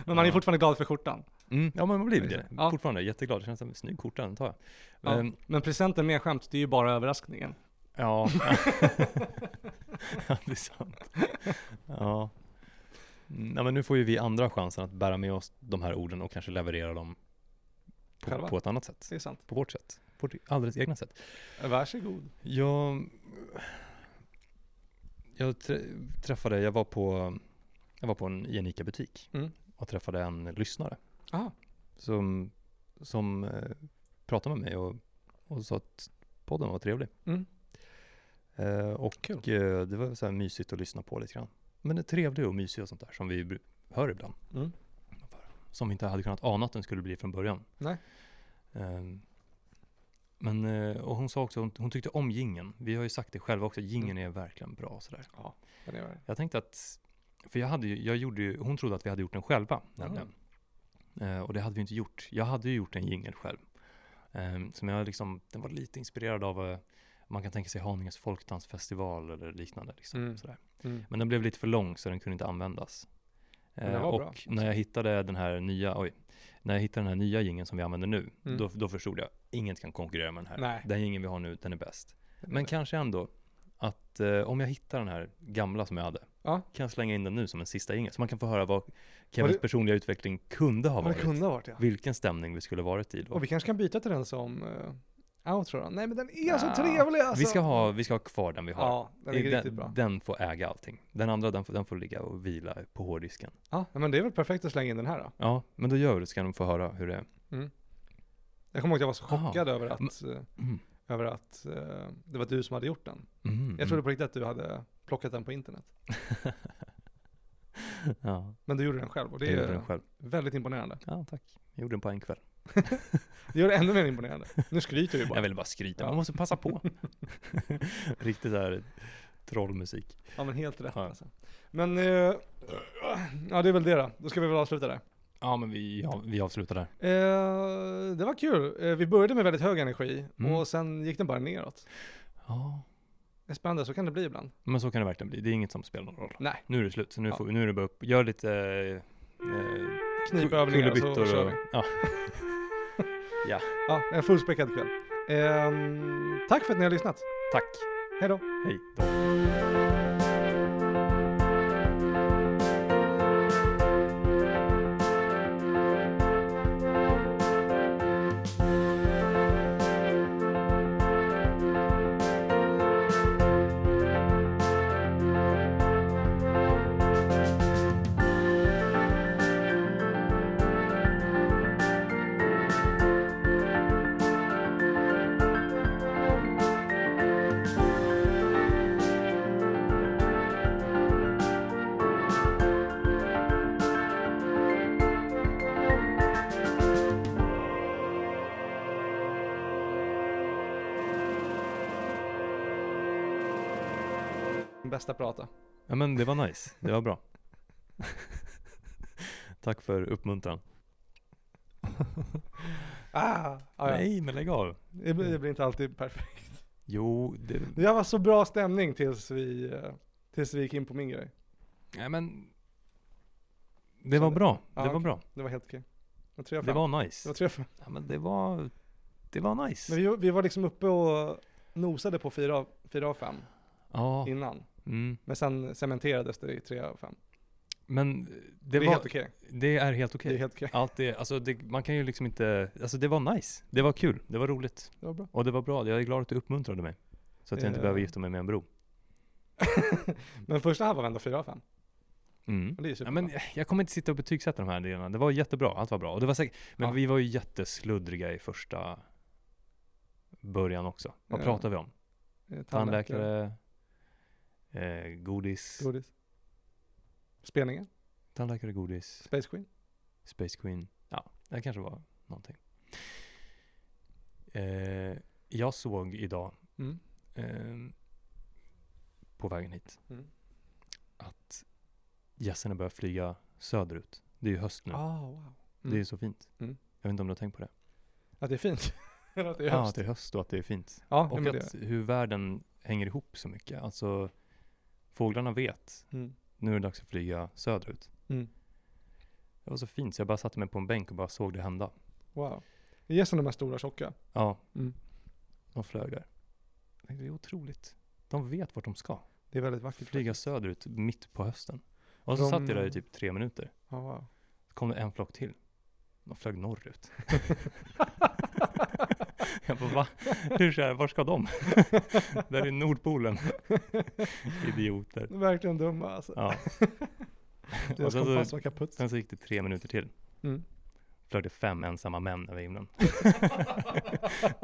Men man är
Ja.
fortfarande glad för skjortan.
Mm, ja, men man blir det.
Ja.
Fortfarande jätteglad. Det känns som en snygg skjorta, den tar jag.
Ja.
Ehm,
Men presenten med skämt, det är ju bara överraskningen.
ja. ja, det är sant. Ja. Nej, men nu får ju vi andra chansen att bära med oss de här orden och kanske leverera dem på,
Själva.
på ett annat sätt.
Det är sant.
På vårt sätt. På vårt alldeles egna sätt.
Varsågod.
Jag, jag trä, träffade, jag var på, jag var på en, i en ICA-butik
Mm.
och träffade en lyssnare
Aha.
som, som eh, pratade med mig och, och sa att podden var trevlig.
Mm.
Eh, och
Kul.
eh, det var så här mysigt att lyssna på lite grann. Men det är trevlig och mysig och sånt där som vi br- hör ibland.
Mm.
Som vi inte hade kunnat ana att den skulle bli från början.
Nej.
Ehm, men, eh, och hon sa också, hon, hon tyckte om gingen. Vi har ju sagt det själva också, gingen är verkligen bra och sådär.
Ja, den är väl-
Jag tänkte att, för jag hade ju, jag gjorde ju, hon trodde att vi hade gjort den själva nämligen. Eh, och det hade vi inte gjort. Jag hade ju gjort en jingel själv. Um, som jag liksom, den var lite inspirerad av, eh, man kan tänka sig Haninges folkdansfestival eller liknande. Liksom,
Mm.
sådär.
Mm.
Men den blev lite för lång så den kunde inte användas.
Men den
Eh,
var
och
bra. alltså.
när jag hittade den här nya, oj, när jag hittade den här nya gingen som vi använder nu,
Mm.
då, då förstod jag, inget kan konkurrera med den här.
Nej.
Den gingen vi har nu, den är bäst.
Den är
Men
bäst.
kanske ändå att eh, om jag hittar den här gamla som jag hade,
Ja.
kan jag slänga in den nu som en sista jingel. Så man kan få höra vad
Vad
Kevins
det-
personliga utveckling kunde ha
Ja, det
varit.
kunde ha varit ja.
Vilken stämning vi skulle ha varit i då.
Och vi kanske kan byta till den som uh, outro då. Nej men den är
Ja.
så trevlig alltså.
Vi ska ha, vi ska ha kvar den vi har.
Ja, den är
I-
riktigt bra.
den får äga allting. Den andra, den får, den får ligga och vila på hårddisken.
Ja, men det är väl perfekt att slänga in den här då.
Ja, men då gör vi det så kan de få höra hur det är.
Jag kommer ihåg att jag var så
Aha.
chockad över att, eh,
Ah. Mm.
över att eh, det var du som hade gjort den.
Mm,
Jag trodde
mm.
på riktigt att du hade plockat den på internet.
Ja,
Men du gjorde den själv och det
jag gjorde
är
den själv.
väldigt imponerande.
Ja, tack. Jag gjorde den på en kväll.
Det gör det ännu mer imponerande. Nu skryter du bara.
Jag ville bara skryta,
Ja.
man måste passa på. Riktigt där trollmusik.
Ja men helt rätt
Ja.
alltså. Men, eh, ja det är väl det då. Då ska vi väl avsluta där.
Ja men vi, ja, vi avslutar där.
Eh, det var kul. Eh, vi började med väldigt hög energi
Mm.
och sen gick den bara neråt.
Ja,
Det är spännande, så kan det bli ibland.
men så kan det verkligen bli. Det är inget som spelar någon roll.
Nej,
Nu är det slut, så nu,
Ja.
får vi, nu är det bara upp. Gör lite eh, eh,
knipövningar så
kullerbyttor
kör
och-
vi.
Ja.
Ja, en fullspäckad kväll. Ehm, tack för att ni har lyssnat.
Tack,
Hej då.
hej då.
Bästa prata.
Ja men det var nice, det var bra. Tack för uppmuntran.
Ah, ah, ja.
Nej men lägg av.
Det, blir, det blir inte alltid perfekt.
Jo, det...
Det här var så bra stämning tills vi, eh, tills vi gick in på min grej.
Nej men... Det var bra,
Ja,
det var
okej.
bra.
Det var helt okej. Det var tre av
Det
fem.
var
Det
nice.
var tre av fem.
Ja, men det var... Det var
Men
nice.
vi, vi var liksom uppe och nosade på fyra av, fyra av fem
Ja,
innan.
mm.
Men sen cementerades det i tre av fem.
men
Det,
det,
är
var...
helt okej.
Det är helt okej.
Det är helt okej.
Allt det, alltså det, man kan ju liksom inte... Alltså det var nice. Det var kul, det var roligt.
Det var bra.
Och det var bra, jag är glad att du uppmuntrade mig. Så att jag inte
Eh.
behöver gifta mig med en bro.
Men första här var ändå fyra av fem.
Mm.
Och Det är ju
Ja,
superbra.
men jag kommer inte sitta och betygsätta de här delarna. Det var jättebra, allt var bra. Och det var säkert, men
Ja.
vi var ju jättesluddriga i första början också. Vad
Ja.
pratade vi om?
Eh,
Tandläkare, eh, godis,
Godis. Spelningar.
tandläkare, godis,
Space Queen.
Space Queen. Ja, det kanske var någonting. Eh, jag såg idag,
Mm.
eh, på vägen hit,
Mm.
att gässerna börjar flyga söderut. Det är ju höst nu.
Ah, wow.
Det är så fint.
Mm.
Jag vet inte om du har tänkt på det?
Att det är fint. Eller att det är
Ja,
höst.
att det är höst och att det är fint.
Ja,
Och
men det.
att hur världen hänger ihop så mycket. Alltså, fåglarna vet,
Mm.
nu är det dags att flyga söderut.
Mm.
Det var så fint, så jag bara satte mig på en bänk och bara såg det hända.
Wow. Det är som de här stora tjocka.
Ja,
Mm.
de flög där. Jag tänkte, Det är otroligt. De vet vart de ska.
Det är väldigt vackert.
Flyga söderut mitt på hösten. Och så
Typ De- Mm.
satt jag där i typ tre minuter.
Ja, wow.
Så kom det en flock till. De flög norrut. jag bara, va? Hur så här, var ska de? där är Nordpolen. Idioter.
De är Verkligen dumma alltså.
Ja.
Deras
så-
kompass var kaputt.
Sen så gick det tre minuter till.
Mm.
Flög det fem ensamma män över himlen.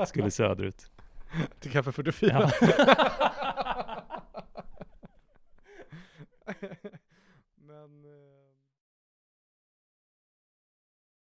Skulle söderut.
Till kaffe 44.
Ja.
eh,